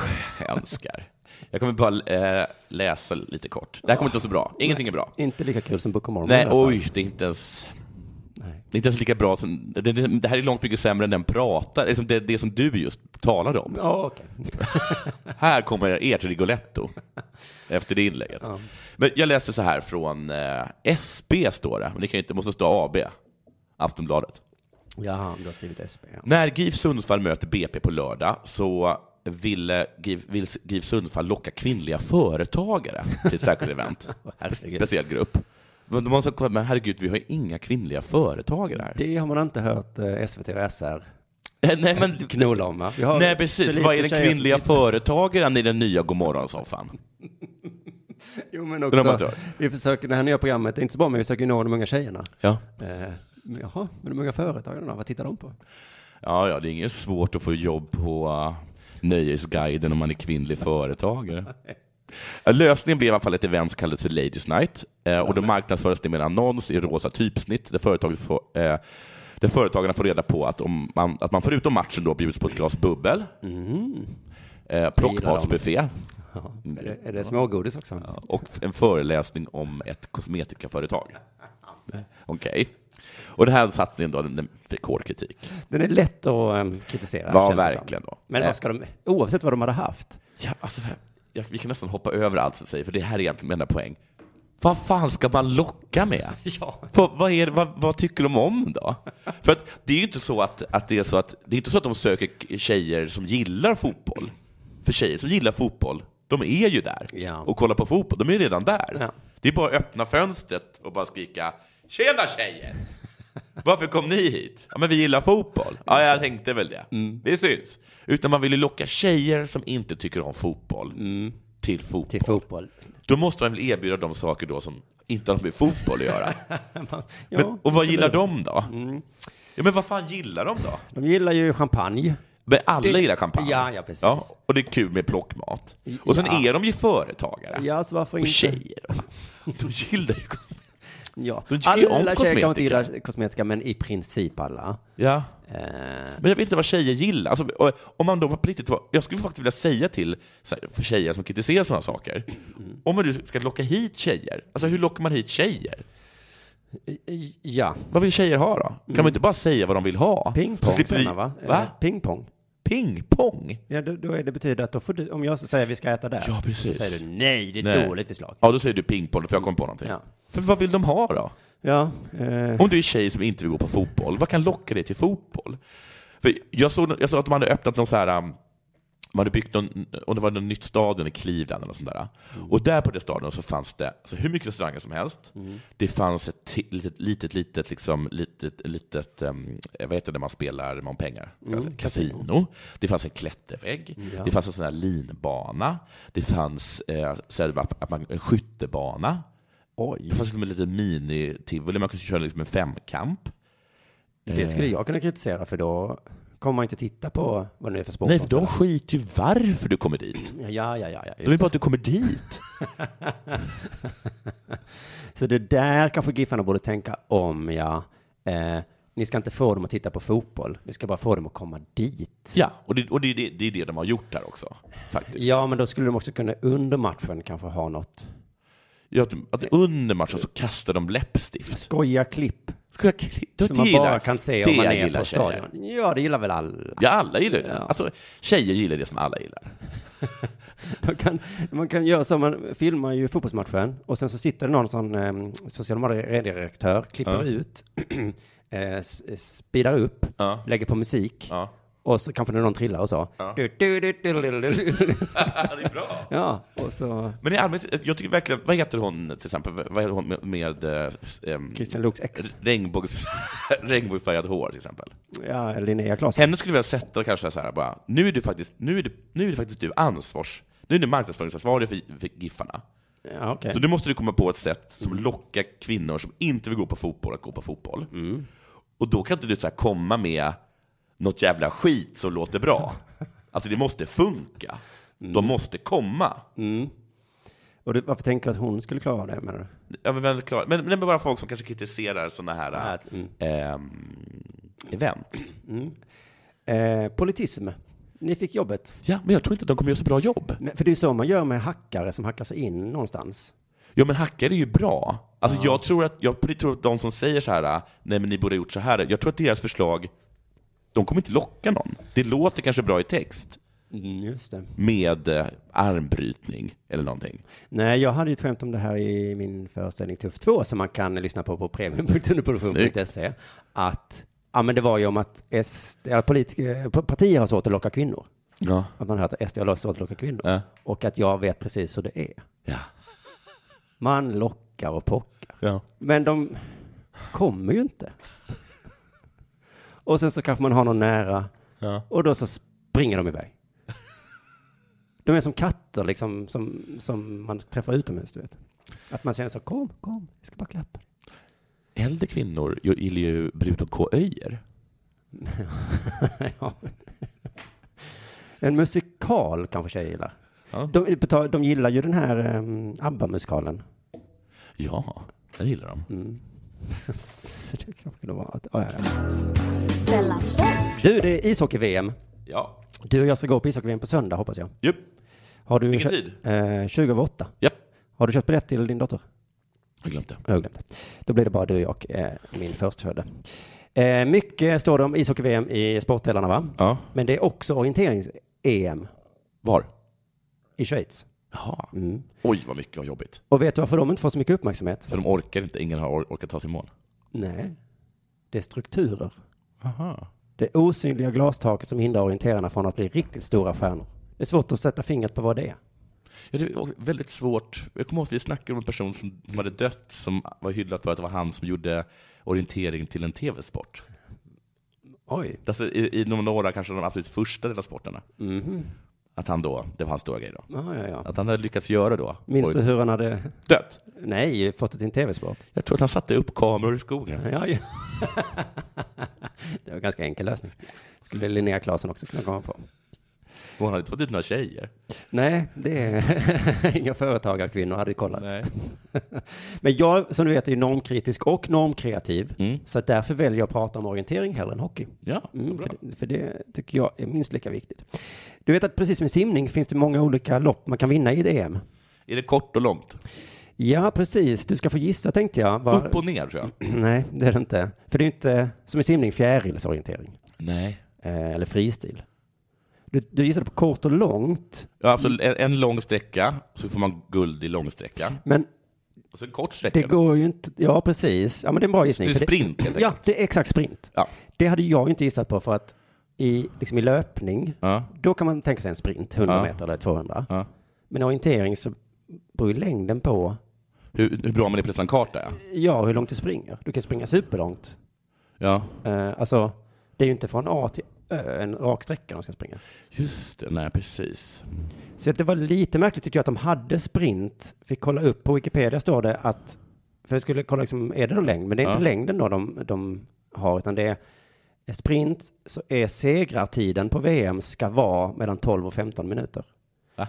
H: jag önskar. Jag kommer bara eh, läsa lite kort. Det här kommer inte vara så bra. Ingenting är bra.
G: Inte lika kul som Book of Mormon. i
H: Nej,
G: alla fall.
H: oj, det är inte ens... Det är inte ens lika bra som... Det, det, det här är långt mycket sämre än den pratar, liksom det, det som du just talade om.
G: Ja, okej.
H: Här kommer ert Rigoletto efter det inlägget. Men jag läser så här från eh, SB, står det. Men det, kan ju inte, det måste stå AB, Aftonbladet.
G: Jaha, du har skrivit SP. ja.
H: När GIF Sundsvall möter BP på lördag så ville GIF, vill GIF Sundsvall locka kvinnliga företagare till ett särskilt event.
G: Herregud.
H: Speciell grupp. Men de måste, men herregud, vi har ju inga kvinnliga företagare här. Eh,
G: Det har man inte hört eh, SVT och SR
H: Nej, men...
G: knola om. va? Vi har
H: Nej,
G: för
H: precis.
G: lite
H: Vad är den
G: tjejer som
H: kvinnliga
G: tittar.
H: företagaren i den nya Godmorgonsoffan?
G: Jo, men
H: Den har man
G: också,
H: inte hört.
G: vi försöker, det här nya programmet är inte så bra, men vi försöker ju nå de unga tjejerna.
H: Ja.
G: Eh, men jaha, men de unga företagen då? Vad tittar de på?
H: Ja, ja, det är inget svårt att få jobb på uh, Nöjesguiden om man är kvinnlig företagare. Ja, Lösningen blev i alla fall ett event som kallades för Ladies Night eh, och då marknadsförs det med en annons i rosa typsnitt där, företaget får, eh, där företagarna får reda på att, om man, att man förutom matchen då bjuds på ett glas bubbel, eh, plockmatsbuffé
G: Ja, är, det, är det smågodis också?
H: och en föreläsning om ett kosmetikaföretag. Okej. Och den här satsningen då, den den fick hård kritik.
G: Den är lätt att eh, kritisera.
H: Ja,
G: känns det
H: verkligen
G: som.
H: då.
G: Men vad ska de, oavsett vad de hade haft,
H: Ja, alltså, jag, vi kan nästan hoppa över allt som säger, för det här är egentligen min enda poäng. Vad fan ska man locka med?
G: Ja.
H: Vad, vad, är, det- vad, vad tycker de om då? För att det är ju inte så att, att det är så att det är inte så att de söker k- tjejer som gillar fotboll. För tjejer som gillar fotboll, de är ju där
G: Ja.
H: och kollar på fotboll. De är ju redan där.
G: Ja.
H: Det är bara att öppna fönstret och bara skrika ”Tjena tjejer! Varför kom ni hit? Ja, men vi gillar fotboll. Ja, jag tänkte väl det.
G: Mm.
H: Det syns. Utan man vill ju locka tjejer som inte tycker om fotboll till fotboll.
G: Mm. till fotboll.
H: Då måste man väl erbjuda de saker då som inte har något med fotboll att göra.
G: Ja,
H: men, och vad gillar de då?
G: Mm.
H: Ja, men vad fan gillar de då?
G: de gillar ju champagne.
H: Men alla
G: Det-
H: gillar champagne.
G: Ja, ja, precis.
H: och det är kul med plockmat. Och sen
G: Ja.
H: är de ju företagare.
G: Ja, så varför
H: och
G: inte?
H: tjejer. De gillar ju...
G: Ja.
H: De tycker ju om
G: Alla tjejer kanske inte
H: kosmetika.
G: gillar kosmetika, men i princip alla.
H: Ja.
G: Eh,
H: Men jag vet inte vad tjejer gillar. Alltså, och- om man då var på riktigt var, jag skulle faktiskt vilja säga till så här, för tjejer som kritiserar sådana saker, om man nu ska locka hit tjejer, alltså hur lockar man hit tjejer?
G: ja,
H: Vad vill tjejer ha då? Kan man inte bara säga vad de vill ha? Så
G: pingpong
H: slipper vi-
G: senare, va? Eh,
H: va?
G: Pingpong.
H: Pingpong?
G: Ja, då, då är det betyder att då får du, om jag säger vi ska äta där,
H: Ja, precis.
G: så säger du nej, det är
H: Nej.
G: ett dåligt förslag.
H: Ja, då säger du pingpong, för jag kom på någonting.
G: Ja.
H: För vad vill de ha då?
G: Ja, eh,
H: Om du är tjej som inte vill gå på fotboll, vad kan locka dig till fotboll? För jag, såg, jag såg att de hade öppnat någon så här, um, de hade byggt någon, och det var någon nytt stadion i Cleveland eller något sånt där. Och där på det stadion så fanns det alltså, hur mycket restauranger som helst. Det fanns ett ti- litet, litet, litet, liksom, litet, litet um, vad heter det man spelar med pengar? Kasino. Det fanns en klättervägg. Det fanns en sån här linbana. Det fanns eh, så här, att man, en skyttebana. Det fanns liksom en liten mini-tivoli, man kunde köra liksom en femkamp.
G: det skulle
H: Eh.
G: jag kunna kritisera för då kommer man inte titta på vad det är för sport.
H: Nej, för de skiter ju varför du kommer dit.
G: Ja, ja, ja, ja.
H: De
G: just
H: vill bara att du kommer dit.
G: det. Så det där kanske Giffarna borde tänka om, ja. Eh, ni ska inte få dem att titta på fotboll, ni ska bara få dem att komma dit.
H: Ja, och det, och det, är det, det är det de har gjort här också. Faktiskt.
G: Ja, men då skulle de också kunna under matchen kanske ha något.
H: Ja, Att, att under matchen så kastar de läppstift.
G: Skoja klipp
H: Ska jag klitta?
G: som man
H: Det gillar-
G: bara kan se
H: det
G: om man
H: jag
G: är
H: gillar
G: på
H: tjejer.
G: stadion. Ja, det gillar väl alla.
H: Ja, alla gillar det. Alltså, tjejer gillar det som alla gillar.
G: Man kan, man kan göra så, man filmar ju fotbollsmatchen och sen så sitter det någon sån eh, sociala medieredaktör, klipper
H: Ja.
G: ut, eh, s- speedar upp,
H: Ja.
G: lägger på musik
H: Ja.
G: och så kanske det är någon trillar och så.
H: Ja.
G: Du, du, du, du, du, du, du.
H: det är bra.
G: ja, och så
H: Men i allmänhet, eh, jag tycker verkligen, vad heter hon till exempel, vad heter hon med, med eh, ehm,
G: Christian Luuks ex,
H: regnbågs, regnbågsfärgat hår till exempel?
G: ja, Linnea Claesson.
H: Henne skulle jag vilja sätta kanske så här bara, nu är du faktiskt, nu är du, nu är du faktiskt du ansvars, nu är du marknadsföringsansvarig för, för Giffarna.
G: Ja, okej.
H: Så nu måste du komma på ett sätt som lockar kvinnor som inte vill gå på fotboll att gå på fotboll. Och då kan inte du så här komma med något jävla skit som låter bra. Alltså det måste funka. De måste komma.
G: Och du, varför tänker du att hon skulle klara det menar du?
H: Ja, men, vem klarar- men, men det är bara folk som kanske kritiserar sådana här
G: Mm.
H: ehm, event.
G: Eh, politism. Ni fick jobbet.
H: Ja, men jag tror inte att de kommer göra så bra jobb.
G: Nej, För det är ju så man gör med hackare som hackar sig in någonstans.
H: Ja, men hackare är ju bra. Alltså, jag, tror att, jag tror att de som säger så här, nej men ni borde ha gjort så här, jag tror att deras förslag, de kommer inte locka någon. Det låter kanske bra i text,
G: Just det.
H: med eh, armbrytning eller någonting.
G: Nej, jag hade ju ett skämt om det här i min föreställning Tuff 2 som man kan lyssna på på premium.underproduktion.se. Att, ja men det var ju om att SD, eller politiker, eh, p- partier har svårt att locka kvinnor.
H: Ja.
G: Att man hör att SD har svårt att locka kvinnor.
H: Ja.
G: Och att jag vet precis hur det är.
H: ja.
G: Man lockar och pockar.
H: Ja.
G: Men de kommer ju inte. Och sen så kanske man har någon nära.
H: Ja.
G: Och då så springer de iväg. De är som katter liksom, som, som man träffar utomhus, du vet. Att man känner så, kom, kom, jag ska bara klappa.
H: Äldre kvinnor ju- gillar ju Bruno K. Öijer.
G: ja. En musikal kanske tjejer gillar. De, de gillar ju den här um, ABBA-musikalen.
H: Ja, jag gillar dem.
G: Så det kanske det var. Att, ja, ja, ja.
K: Della Sport.
G: Du, det är ishockey-VM.
H: Ja.
G: Du och jag ska gå på ishockey-VM på söndag, hoppas jag.
H: Japp.
G: Har du
H: Vilken
G: kö-
H: tid?
G: Eh, 20 över 8.
H: Japp.
G: Har du köpt biljett till din dotter?
H: Jag har glömt det.
G: Jag har glömt. Då blir det bara du och eh, min förstfödde. Eh, mycket står det om ishockey-VM i sportdelarna, va?
H: Ja.
G: Men det är också orienterings-EM.
H: Var?
G: I Schweiz.
H: Jaha.
G: Mm.
H: Oj, vad mycket och jobbigt.
G: Och vet du varför de inte får så mycket uppmärksamhet?
H: För de orkar inte. Ingen har or- orkat ta sig i mål.
G: Nej, det är strukturer.
H: Aha.
G: Det osynliga glastaket som hindrar orienterarna från att bli riktigt stora stjärnor. Det är svårt att sätta fingret på vad det är.
H: Ja, det var väldigt svårt. Jag kommer ihåg att vi snackade om en person som, som hade dött, som var hyllad för att det var han som gjorde orientering till en tv-sport.
G: Oj.
H: Alltså, i, I någon- några, kanske de absolut första delarna sporterna.
G: Mhm.
H: Att han då, det var hans stora grej då.
G: Ja, ja, ja.
H: Att han hade lyckats göra då.
G: Minns
H: Och-
G: du hur han hade...
H: Dött?
G: Nej, fått det till en tv-sport.
H: Jag tror att han satte upp kameror i skogen.
G: Ja, ja. det var en ganska enkel lösning. Skulle
H: Mm.
G: Linnea Claesson också kunna komma på.
H: Och han hade inte fått dit några tjejer.
G: Nej, det är inga företagarkvinnor hade kollat.
H: Nej.
G: Men jag, som du vet, är ju normkritisk och normkreativ.
H: Mm.
G: Så att därför väljer jag att prata om orientering hellre än hockey.
H: Ja,
G: mm, för, det, för det tycker jag är minst lika viktigt. Du vet att precis som i simning finns det många olika lopp man kan vinna i ett EM.
H: Är det kort och långt?
G: Ja, precis. Du ska få gissa, tänkte jag. Var...
H: Upp och ner tror
G: Mm.
H: jag.
G: Nej, det är det inte. För det är inte, som i simning, fjärilsorientering.
H: Nej.
G: Eh, eller fristil. Du, du gissade på kort och långt,
H: Ja, alltså en, en lång sträcka, så får man guld i långsträcka.
G: men
H: Och så en kort sträcka.
G: det går ju inte. Ja, precis. Ja, men det är en bra gissning.
H: Det är
G: för
H: sprint, helt
G: Ja, det är exakt sprint.
H: Ja.
G: Det hade jag ju inte gissat på för att i, liksom i löpning,
H: Ja.
G: då kan man tänka sig en sprint, 100
H: Ja.
G: meter eller 200.
H: Ja.
G: Men orientering så beror ju längden på
H: Hur, hur bra man är på att läsa en karta, ja.
G: ja, hur långt du springer. Du kan springa superlångt.
H: ja.
G: Eh, alltså, det är ju inte från A till Ö en rak sträcka de ska springa.
H: Just det, nej precis.
G: Så att det var lite märkligt tycker jag att de hade sprint. Fick kolla upp på Wikipedia står det att, för jag skulle kolla liksom, är det då längd? Men det är
H: Ja.
G: inte längden då de, de har, utan det är sprint så är segrartiden på VM ska vara mellan 12 och 15 minuter.
H: Va?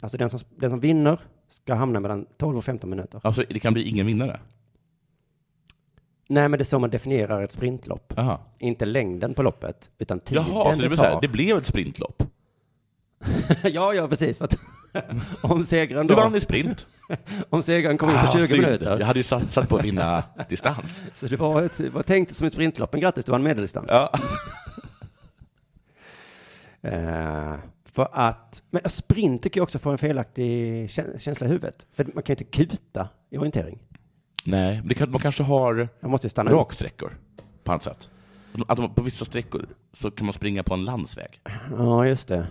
G: Alltså den som, den som vinner ska hamna mellan 12 och 15 minuter.
H: Alltså, det kan bli ingen vinnare?
G: Nej, men det är så man definierar ett sprintlopp.
H: Aha.
G: Inte längden på loppet, utan tiden
H: Jaha, så det,
G: det
H: blev så här,
G: tar.
H: det blev ett sprintlopp.
G: ja, ja, precis. För att om segraren
H: Du
G: då,
H: vann i sprint.
G: om segraren kom in på 20
H: Ah, synd.
G: minuter.
H: Jag hade ju satsat på att vinna distans.
G: Så det var, ett, det var tänkt som ett sprintlopp, men grattis, du vann medeldistans.
H: Ja.
G: Eh, för att, men sprint tycker jag också får en felaktig kä- känsla i huvudet. För man kan ju inte kuta i orientering.
H: Nej, men det kan, man kanske har
G: Man måste ju stanna upp.
H: raksträckor på annat sätt. Att de, på vissa sträckor så kan man springa på en landsväg.
G: Ja, just det.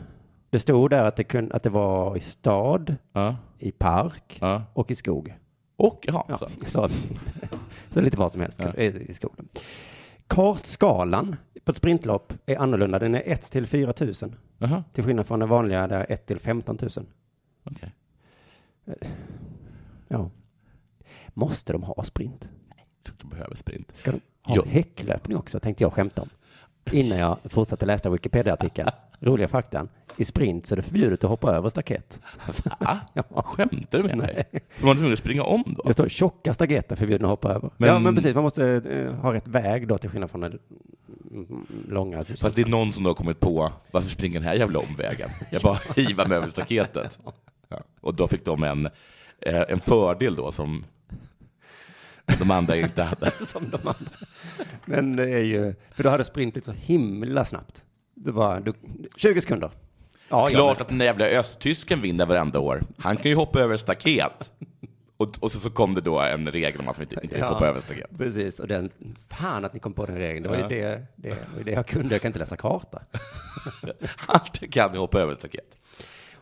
G: Det stod där att det, kun, att det var i stad,
H: Ja.
G: i park
H: Ja.
G: och i skog.
H: Och, jaha,
G: Ja,
H: så.
G: så, så lite vad som helst
H: Ja.
G: i i skolan. Kartskalan på ett sprintlopp är annorlunda. Den är 1 till 4 000.
H: Jaha,
G: Till skillnad från den vanliga där 1 till 15 000.
H: okej.
G: Ja. Måste de ha sprint?
H: Jag tror att de behöver sprint.
G: Ska de ha
H: Ja.
G: häcklöpning också? Tänkte jag skämta om. Innan jag fortsatte läsa Wikipedia-artikeln. Roliga faktan. I sprint så är det förbjudet att hoppa över staket.
H: Va?
G: Ja.
H: Ah, Skämtar du med mig? De var tvungna att springa om då?
G: Det står tjocka staket är förbjudna att hoppa över.
H: Men-
G: Ja, men precis. Man måste eh, ha rätt väg då till skillnad från den mm, långa.
H: Så att det är någon som då har kommit på, varför springer den här jävla omvägen? Jag bara hivar mig över staketet. Ja. Och då fick de en, eh, en fördel då som de andra inte hade.
G: som de andra. Men det är ju, för då hade sprint blivit så himla snabbt. Det var du, 20 sekunder. Ja, ja,
H: Klart
G: men-
H: att den där jävla östtysken vinner varenda år. Han kan ju hoppa över staket. Och, och så, så kom det då en regel om att man inte, inte fick hoppa över staket.
G: Precis, och den, fan att ni kom på den regeln. Det var ju
H: Ja.
G: det, det, var ju det jag kunde, jag kan inte läsa karta.
H: Alltid kan ni hoppa över staket.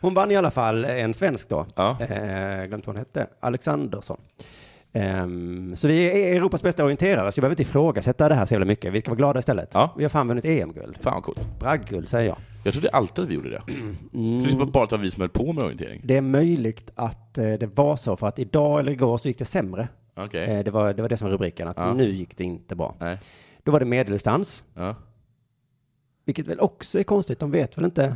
G: Hon vann i alla fall en svensk då,
H: Ja.
G: eh, glömt vad hon hette, Alexandersson. Eh, Ehm, så vi är Europas bästa orienterare, så jag behöver inte ifrågasätta det här så jävla mycket. Vi ska vara glada istället. Vi har fan vunnit EM-guld.
H: Fan vad coolt.
G: Bragdguld säger jag.
H: Jag trodde alltid att vi gjorde det.
G: Mm.
H: Jag trodde det var bara att det var vi som höll på med orientering.
G: Det är möjligt att eh, det var så, för att idag eller igår så gick det sämre.
H: Okej.
G: Eh, Det, var, det var det som var rubriken, att
H: Ja.
G: nu gick det inte bra. Då var det medeldistans. Vilket väl också är konstigt, de vet väl inte.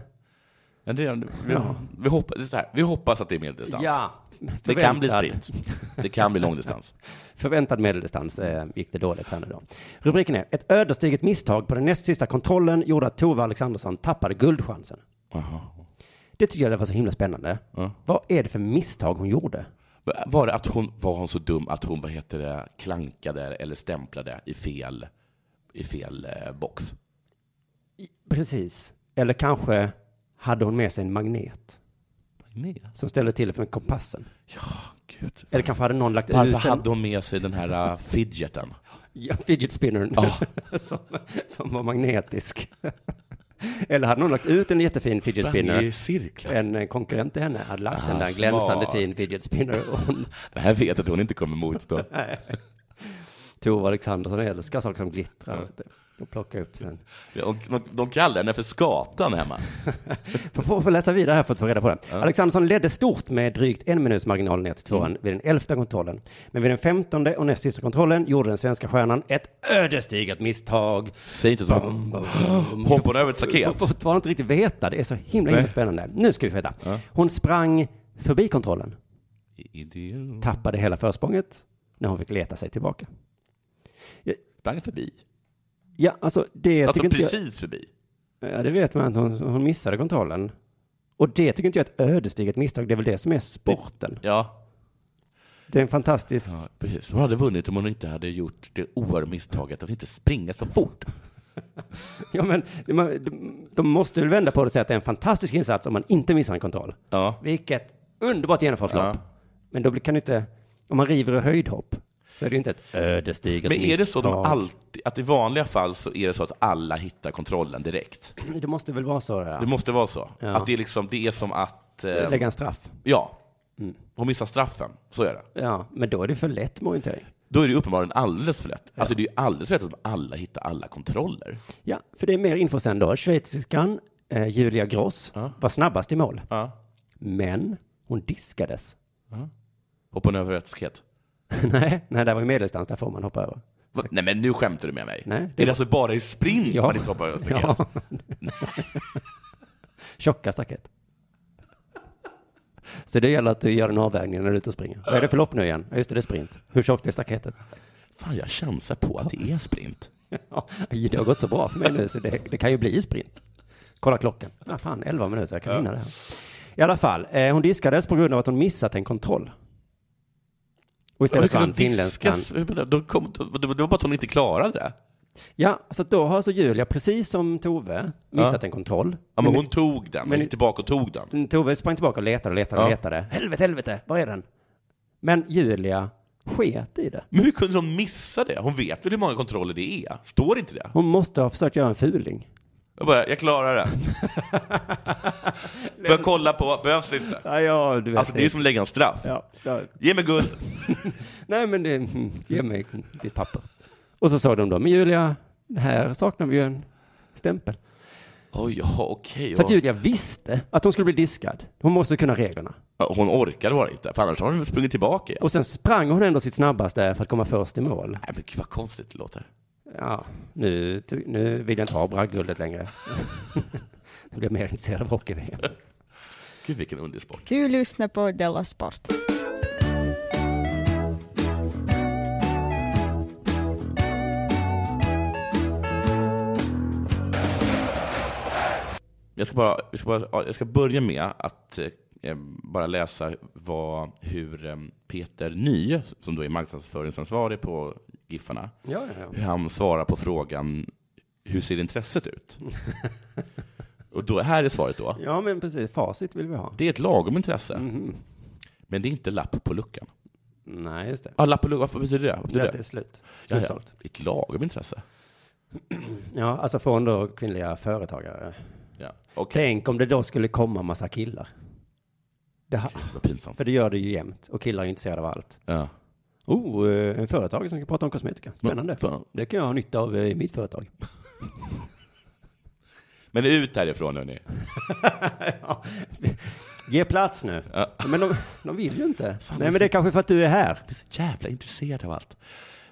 H: Men det, är- vi,
G: Ja.
H: vi, hoppas, det är så här, vi hoppas att det är medeldistans.
G: Ja,
H: det kan bli
G: förväntad.
H: sprint. Det kan bli långdistans.
G: Förväntad medeldistans eh, gick det dåligt här nu då. Rubriken är Ett ödesdigert misstag på den näst sista kontrollen gjorde att Tove Alexandersson tappade guldchansen. Det tycker jag var så himla spännande. Vad är det för misstag hon gjorde?
H: Var, det att hon, var hon så dum att hon vad heter det, klankade eller stämplade i fel, i fel eh, box?
G: Precis. Eller kanske hade hon med sig en magnet
H: Magnet?
G: som ställde till det för kompassen.
H: Ja, gud.
G: Eller kanske hade någon lagt ut
H: Varför
G: en-
H: hade hon med sig den här eh, fidgeten?
G: Ja, fidget spinnern. som, som var magnetisk. Eller hade någon lagt ut en jättefin fidget
H: Sprang
G: spinner.
H: i cirklar.
G: En eh, konkurrent till henne hade lagt
H: Ah,
G: en där glänsande
H: smart.
G: fin fidget spinner. Och hon,
H: Det här vet jag att hon inte kommer motstå.
G: Nej. Tove Alexandersson älskar saker som glittrar. vet du. Och plocka upp den.
H: De, de, de kallar henne för skatan hemma.
G: Får- Får, får läsa vidare här för att få reda på det. Alexandersson ledde stort med drygt en minuts marginal ner till tvåan
H: Mm.
G: vid den elfte kontrollen. Men vid den femtonde och näst sista kontrollen gjorde den svenska stjärnan ett ödesdigert misstag.
H: Säg inte att hon hoppar hon över ett
G: Får
H: staket.
G: fortfarande inte riktigt veta. Det är så himla, himla
H: Nej.
G: spännande. Nu ska vi få veta. Hon sprang förbi kontrollen,
H: Idiot.
G: tappade hela försprånget när hon fick leta sig tillbaka.
H: Sprang förbi.
G: Ja, alltså det
H: Alltså
G: tycker
H: precis
G: inte
H: förbi.
G: jag... Ja, det vet man att hon, hon missade kontrollen. Och det tycker inte jag är ett ödesdigert misstag. Det är väl det som är sporten.
H: Ja,
G: Det är en fantastisk...
H: ja, precis. Hon hade vunnit om hon inte hade gjort det oerhörda misstaget att inte springa så fort.
G: Ja, men man- de- de måste väl vända på det och säga att det är en fantastisk insats om man inte missar en kontroll.
H: Ja.
G: Vilket underbart genomfört lopp.
H: Ja.
G: Men då blir- kan du inte... Om man river och höjdhopp så är det ju inte ett ödesdigert
H: Men är det så de
G: misstag.
H: alltid, att i vanliga fall så är det så att alla hittar kontrollen direkt?
G: Det måste väl vara så? Ja.
H: Det måste vara så.
G: Ja.
H: Att det är liksom, det är som att... eh,
G: Lägga Mm. en straff.
H: Ja. Hon missar straffen, så är det.
G: Ja, men då är det för lätt med orientering.
H: Då är det uppenbarligen alldeles för lätt. Alltså det är ju alldeles för lätt att alla hittar alla kontroller.
G: Ja, för det är mer info sen då. Schweiziskan eh, Julia Gross var snabbast i mål.
H: Ja.
G: Men hon diskades.
H: Hoppar hon över ett staket?
G: nej, nej, där var ju medeldistans, där får man hoppa över.
H: Va? Nej men nu skämtar du med mig.
G: Nej,
H: det är det alltså bara i sprint
G: Ja.
H: man inte hoppar över ett staket?
G: Ja. Tjocka staket. Så det gäller att du gör en avvägning när du är ute och springer. Vad är det för lopp nu igen? Ja, just det, det är sprint. Hur tjockt är staketet?
H: Fan, jag chansar på att det är sprint.
G: Ja, det har gått så bra för mig nu så det, det kan ju bli sprint. Kolla klockan. Ah, fan, 11 minuter, jag kan hinna det här. I alla fall, eh, hon diskades på grund av att hon missat en kontroll. Och istället vann finländskan.
H: Då kom, då, det var bara att hon inte klarade det.
G: Ja, så att då har alltså Julia, precis som Tove, missat
H: Ja.
G: en kontroll.
H: Ja, men
G: Men
H: hon tog den, men gick tillbaka och tog den.
G: Mm, Tove sprang tillbaka och letade och letade och
H: Ja.
G: letade. Helvete, helvete, var är den? Men Julia sket i det.
H: Men hur kunde hon missa det? Hon vet väl hur många kontroller det är? Står inte det?
G: Hon måste ha försökt göra en fuling.
H: Jag bara, jag klarar det. Får jag kolla på, behövs inte?
G: Ja, ja, du vet
H: Alltså det är som att lägga en straff.
G: Ja, ja.
H: Ge mig guld.
G: Nej, men det, ge mig ditt papper. Och så sa de då, men Julia, här saknar vi ju en stämpel.
H: Oj, ja, okej.
G: Så att Julia visste att hon skulle bli diskad. Hon måste kunna reglerna.
H: Ja, Hon orkade bara inte, för annars har hon sprungit tillbaka igen.
G: Och sen sprang hon ändå sitt snabbaste för att komma först i mål.
H: Nej, men gud vad konstigt det låter.
G: Ja, nu, ty- nu vill jag inte ha bragdguldet längre. Nu blir jag mer intresserad av hockey
H: Gud vilken underlig sport.
L: Du lyssnar på Della Sport.
H: Jag ska, bara, jag, ska bara, ja, jag ska börja med att eh, bara läsa vad, hur eh, Peter Ny, som då är marknadsföringsansvarig på Giffarna,
G: Ja, ja, ja.
H: hur han svarar på frågan hur ser intresset ut? Och då, här är svaret då.
G: Ja, men precis. Facit vill vi ha.
H: Det är ett lagom intresse, men det är inte lapp på luckan.
G: Mm. Nej, just det.
H: Ah, lapp på luckan, vad betyder det? Vad betyder
G: Ja, det är slut.
H: Ja, ja.
G: Slutsålt.
H: Det är ett lagom intresse.
G: Ja, alltså från då kvinnliga företagare.
H: Ja. Och
G: Tänk om det då skulle komma massa killar. Det ha,
H: vad pinsamt.
G: för det gör det ju jämt. Och killar är intresserade av allt.
H: Ja.
G: Oh, eh, en företagare som kan prata om kosmetika. Spännande. Det kan jag ha nytta av eh, i mitt företag.
H: Men ut härifrån hörni.
G: Ge plats nu. Men de, de vill ju inte.
H: det
G: Nej,
H: är
G: men det är
H: så-
G: kanske för att du är här.
H: Jag blir så jävla intresserad av allt.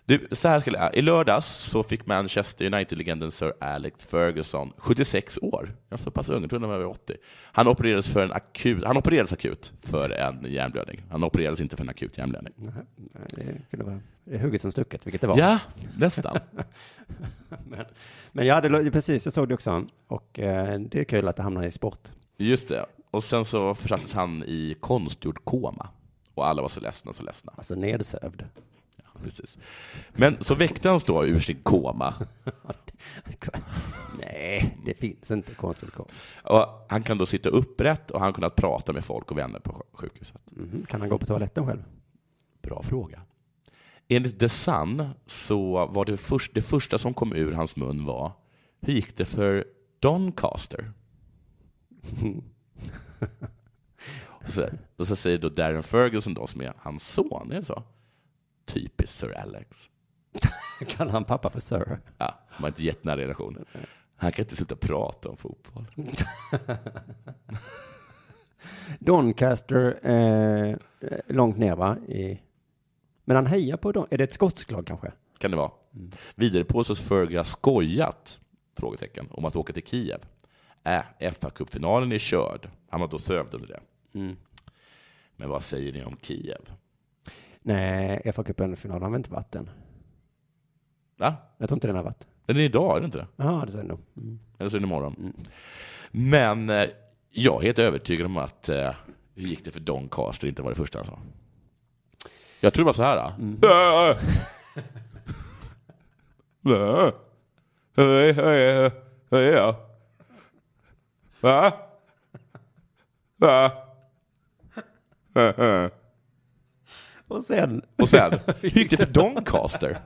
H: Du, så här skulle jag, I lördags så fick Manchester United-legenden Sir Alex Ferguson, 76 år, jag är så pass ung, jag trodde han var över 80. Han opererades, för en akut, han opererades akut för en hjärnblödning. Han opererades inte för en akut hjärnblödning.
G: Nej, det kunde vara det är hugget som stucket, vilket det var.
H: Ja, nästan.
G: men, men jag hade, lo- precis, jag såg det också. Och eh, det är kul att det hamnar i sport.
H: Just det. Och sen så försattes han i konstgjord koma. Och alla var så ledsna, så ledsna.
G: Alltså nedsövd.
H: Ja, precis. Men så väcktes han då ur sin koma.
G: Nej, det finns inte konstgjord koma.
H: Och han kan då sitta upprätt och han kunnat prata med folk och vänner på sj- sjukhuset.
G: Mhm, Kan han gå på toaletten själv?
H: Bra fråga. Enligt The Sun så var det, först, det första som kom ur hans mun var Hur gick det för Doncaster? och, så, och så säger då Darren Ferguson då som är hans son, är det så? Typiskt Sir Alex.
G: Kallar han pappa för Sir?
H: Ja, de har inte jättenära relationer. Han kan inte sluta prata om fotboll.
G: Doncaster, eh, eh, långt ner va? I... Men han hejar på Don... Är det ett skotsk lag kanske?
H: kan det vara. Vidare påstås Fergie ha skojat frågetecken, om att åka till Kiev. Äh, FA-cupfinalen är körd. Han var då sövd under det. Men vad säger ni om Kiev?
G: Nej, FA-cupen-finalen har väl inte varit än?
H: Va?
G: Jag tror inte den har varit.
H: Den är idag, är det inte det?
G: Jaha, det sa jag nog. Mm.
H: Eller så är det imorgon. Men eh, jag är helt övertygad om att eh, hur gick det för Doncaster inte var det första han sa. Jag tror det var så här. Äh. Äh. Hej, hej, hej, ja. Va? Va? Äh, äh.
G: Och sen?
H: Och sen? Hur gick det för Doncaster?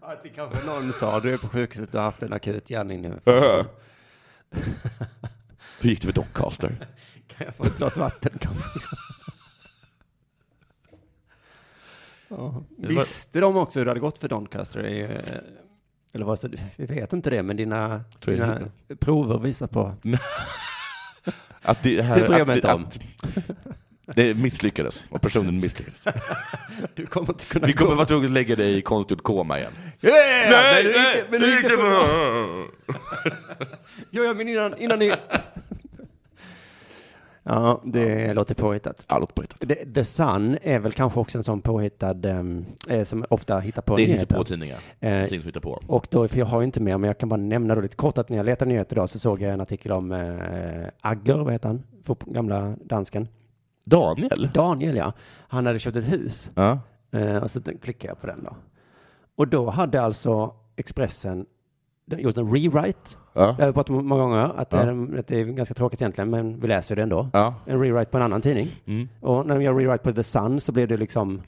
G: Att det kanske någon sa, du är på sjukhuset, du har haft en akut hjärning nu.
H: Äh. Hur gick det för Doncaster?
G: Kan jag få ett glas vatten kanske? Ja.
H: Det var-
G: Visste de också hur det hade gått för Doncaster? i, eh, Eller var det, så- vi vet inte det, men dina,
H: Tror jag
G: dina prover visar på...
H: Att det här...
G: Det bryr jag mig
H: att,
G: inte om.
H: att, det misslyckades. Och personen misslyckades.
G: Du kommer inte kunna
H: Vi kommer
G: gå-
H: vara tvungna att lägga dig i konstgjord koma igen.
G: Yeah! Men
H: Nej,
G: du
H: nej,
G: gick- men
H: det
G: du
H: gick
G: gick det
H: det
G: för
H: bra.
G: Jo, ja, men innan, innan ni... Ja, det låter påhittat.
H: Ja, låter påhittat.
G: The, The Sun är väl kanske också en sån påhittad, ehm, eh, som ofta hittar på
H: Det är
G: nyheter.
H: hittepå-tidningar.
G: Eh,
H: Tidningar som hittar på.
G: Och då, för jag har ju inte mer, men jag kan bara nämna då lite kort att när jag letade nyheter idag så såg jag en artikel om eh, Agger, vad heter han? Fotbo- Gamla dansken.
H: Daniel?
G: Daniel, ja. Han hade köpt ett hus.
H: Ja.
G: Eh, och så t- klickade jag på den då. Och då hade alltså Expressen gjort en rewrite.
H: Ja.
G: Det har vi pratat om många gånger, att, det,
H: Ja.
G: är, att det är ganska tråkigt egentligen, men vi läser det ändå.
H: Ja.
G: En rewrite på en annan tidning.
H: Mm.
G: Och när de gör rewrite på The Sun så blir det liksom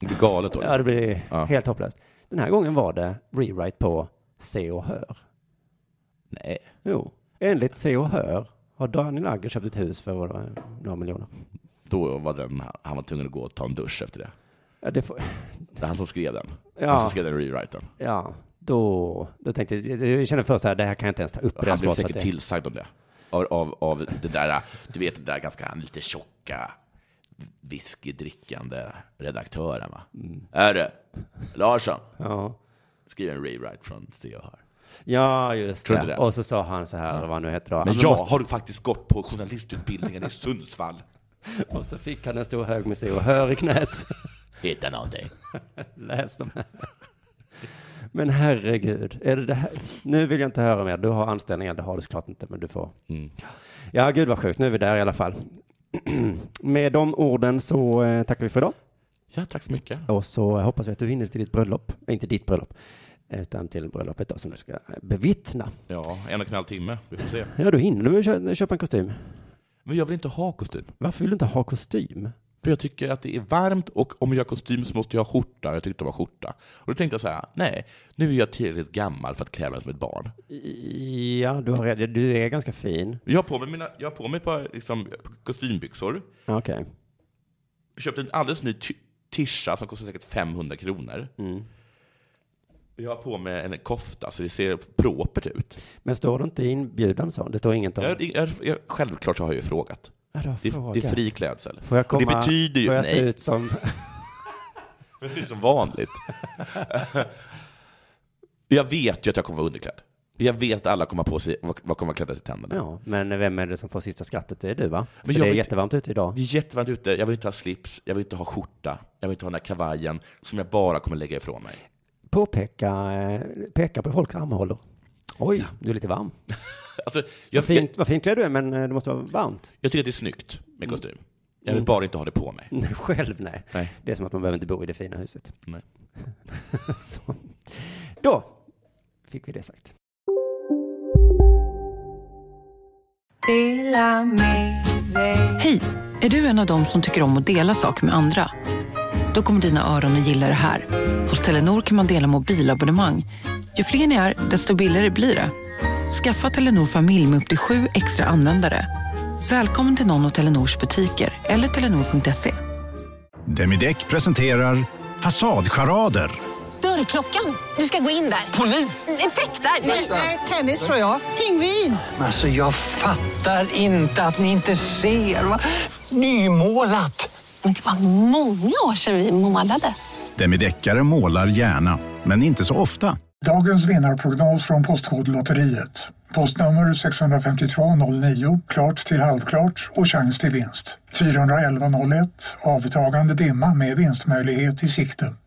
H: Det blir galet då. liksom.
G: Ja, det blir
H: Ja.
G: helt hopplöst. Den här gången var det rewrite på Se och Hör.
H: Nej.
G: Jo, enligt Se och Hör har Daniel Agger köpt ett hus för vad det var, några miljoner.
H: Då var den, han var tvungen att gå och ta en dusch efter det.
G: Ja, det får,
H: Det är han som skrev den.
G: Ja.
H: Han som skrev den rewriten.
G: ja då, då tänkte jag, jag kände först så här, det här kan jag inte ens ta upp. i det här
H: Han blev
G: svaret för
H: säkert
G: att det-
H: tillsagd om det. Av, av, av det där, du vet den där ganska lite tjocka whiskydrickande redaktören va? Är det Larsson?
G: Ja.
H: Skriv en rewrite från Se och Hör.
G: Ja, just
H: Tror
G: det.
H: inte det?
G: Och så sa han så här, vad han nu heter då.
H: Men
G: "Ja,
H: jag
G: måste-
H: Alltså, har faktiskt gått på journalistutbildningen i Sundsvall.
G: Och så fick han en stor hög med Se och Hör i knät.
H: Hitta någonting.
G: Läs de här. Men herregud, är det det här? nu vill jag inte höra mer. Du har anställningar, det har du såklart inte, men du får. Ja, gud vad sjukt, nu är vi där i alla fall. Med de orden så eh, tackar vi för idag.
H: Ja, tack så mycket.
G: Och så hoppas vi att du hinner till ditt bröllop, Eh, inte ditt bröllop, utan till bröllopet då, som du ska eh, bevittna.
H: Ja, en och en halv timme. Vi får se.
G: Ja, då hinner du kö- köpa en kostym.
H: Men jag vill inte ha kostym.
G: Varför vill du inte ha kostym?
H: För jag tycker att det är varmt och om jag har kostym så måste jag ha skjorta. Jag tyckte det var skjorta. Och då tänkte jag så här, nej, nu är jag tillräckligt gammal för att klä mig som ett barn.
G: Ja, du, har, red- du är ganska fin.
H: Jag har på mig, mina, jag har på mig ett par liksom, kostymbyxor.
G: Okej.
H: Köpte en alldeles ny ty- tisha som kostar säkert 500 kronor.
G: Mm.
H: Jag har på mig en kofta så det ser propert ut.
G: Men står det inte i inbjudan så? Det står inget om...
H: Jag, jag, jag, självklart så har jag ju frågat.
G: Ja, du har
H: det,
G: frågat.
H: det är fri klädsel.
G: Får jag
H: Och
G: komma-
H: det betyder ju
G: får jag
H: nej.
G: se ut som-
H: Får jag se ut som vanligt? jag vet ju att jag kommer vara underklädd. Jag vet att alla kommer ha på sig, vad vad kommer vara klädda till tänderna.
G: Ja, men vem är det som får sista skrattet? Det är du, va?
H: Men
G: Men
H: jag
G: det är
H: vet-
G: jättevarmt ute idag.
H: Det är jättevarmt ute, jag vill inte ha slips, jag vill inte ha skjorta, jag vill inte ha den här kavajen som jag bara kommer lägga ifrån mig.
G: Påpeka, eh, peka på folks armhålor. Oj, du är lite varm.
H: Alltså, jag,
G: Vad fint,
H: jag,
G: vad fint klädd du är, men eh, det måste vara varmt.
H: jag tycker att det är snyggt med kostym. Jag vill
G: Mm.
H: bara inte ha det på mig.
G: Nej, Själv nej.
H: Nej.
G: Det är som att man behöver inte bo i det fina huset.
H: Nej.
G: så. Då fick vi det sagt.
D: Hej! Är du en av dem som tycker om att dela saker med andra? Då kommer dina öron att gilla det här. Hos Telenor kan man dela mobilabonnemang. Ju fler ni är, desto billigare blir det. Skaffa Telenor familj med upp till sju extra användare. Välkommen till någon av Telenors butiker eller telenor.se.
M: Demideck presenterar Fasadcharader.
N: Dörrklockan. Du ska gå in där. Polis? Effektar? Nej, tennis tror jag. Pingvin.
O: Alltså jag fattar inte att ni inte ser. Va? Nymålat.
N: Men det var många år sedan vi målade.
M: Demideckare målar gärna, men inte så ofta.
P: Dagens vinnarprognos från Postkodlotteriet. Postnummer 65209, klart till halvklart och chans till vinst. 41101, avtagande dimma med vinstmöjlighet i sikte.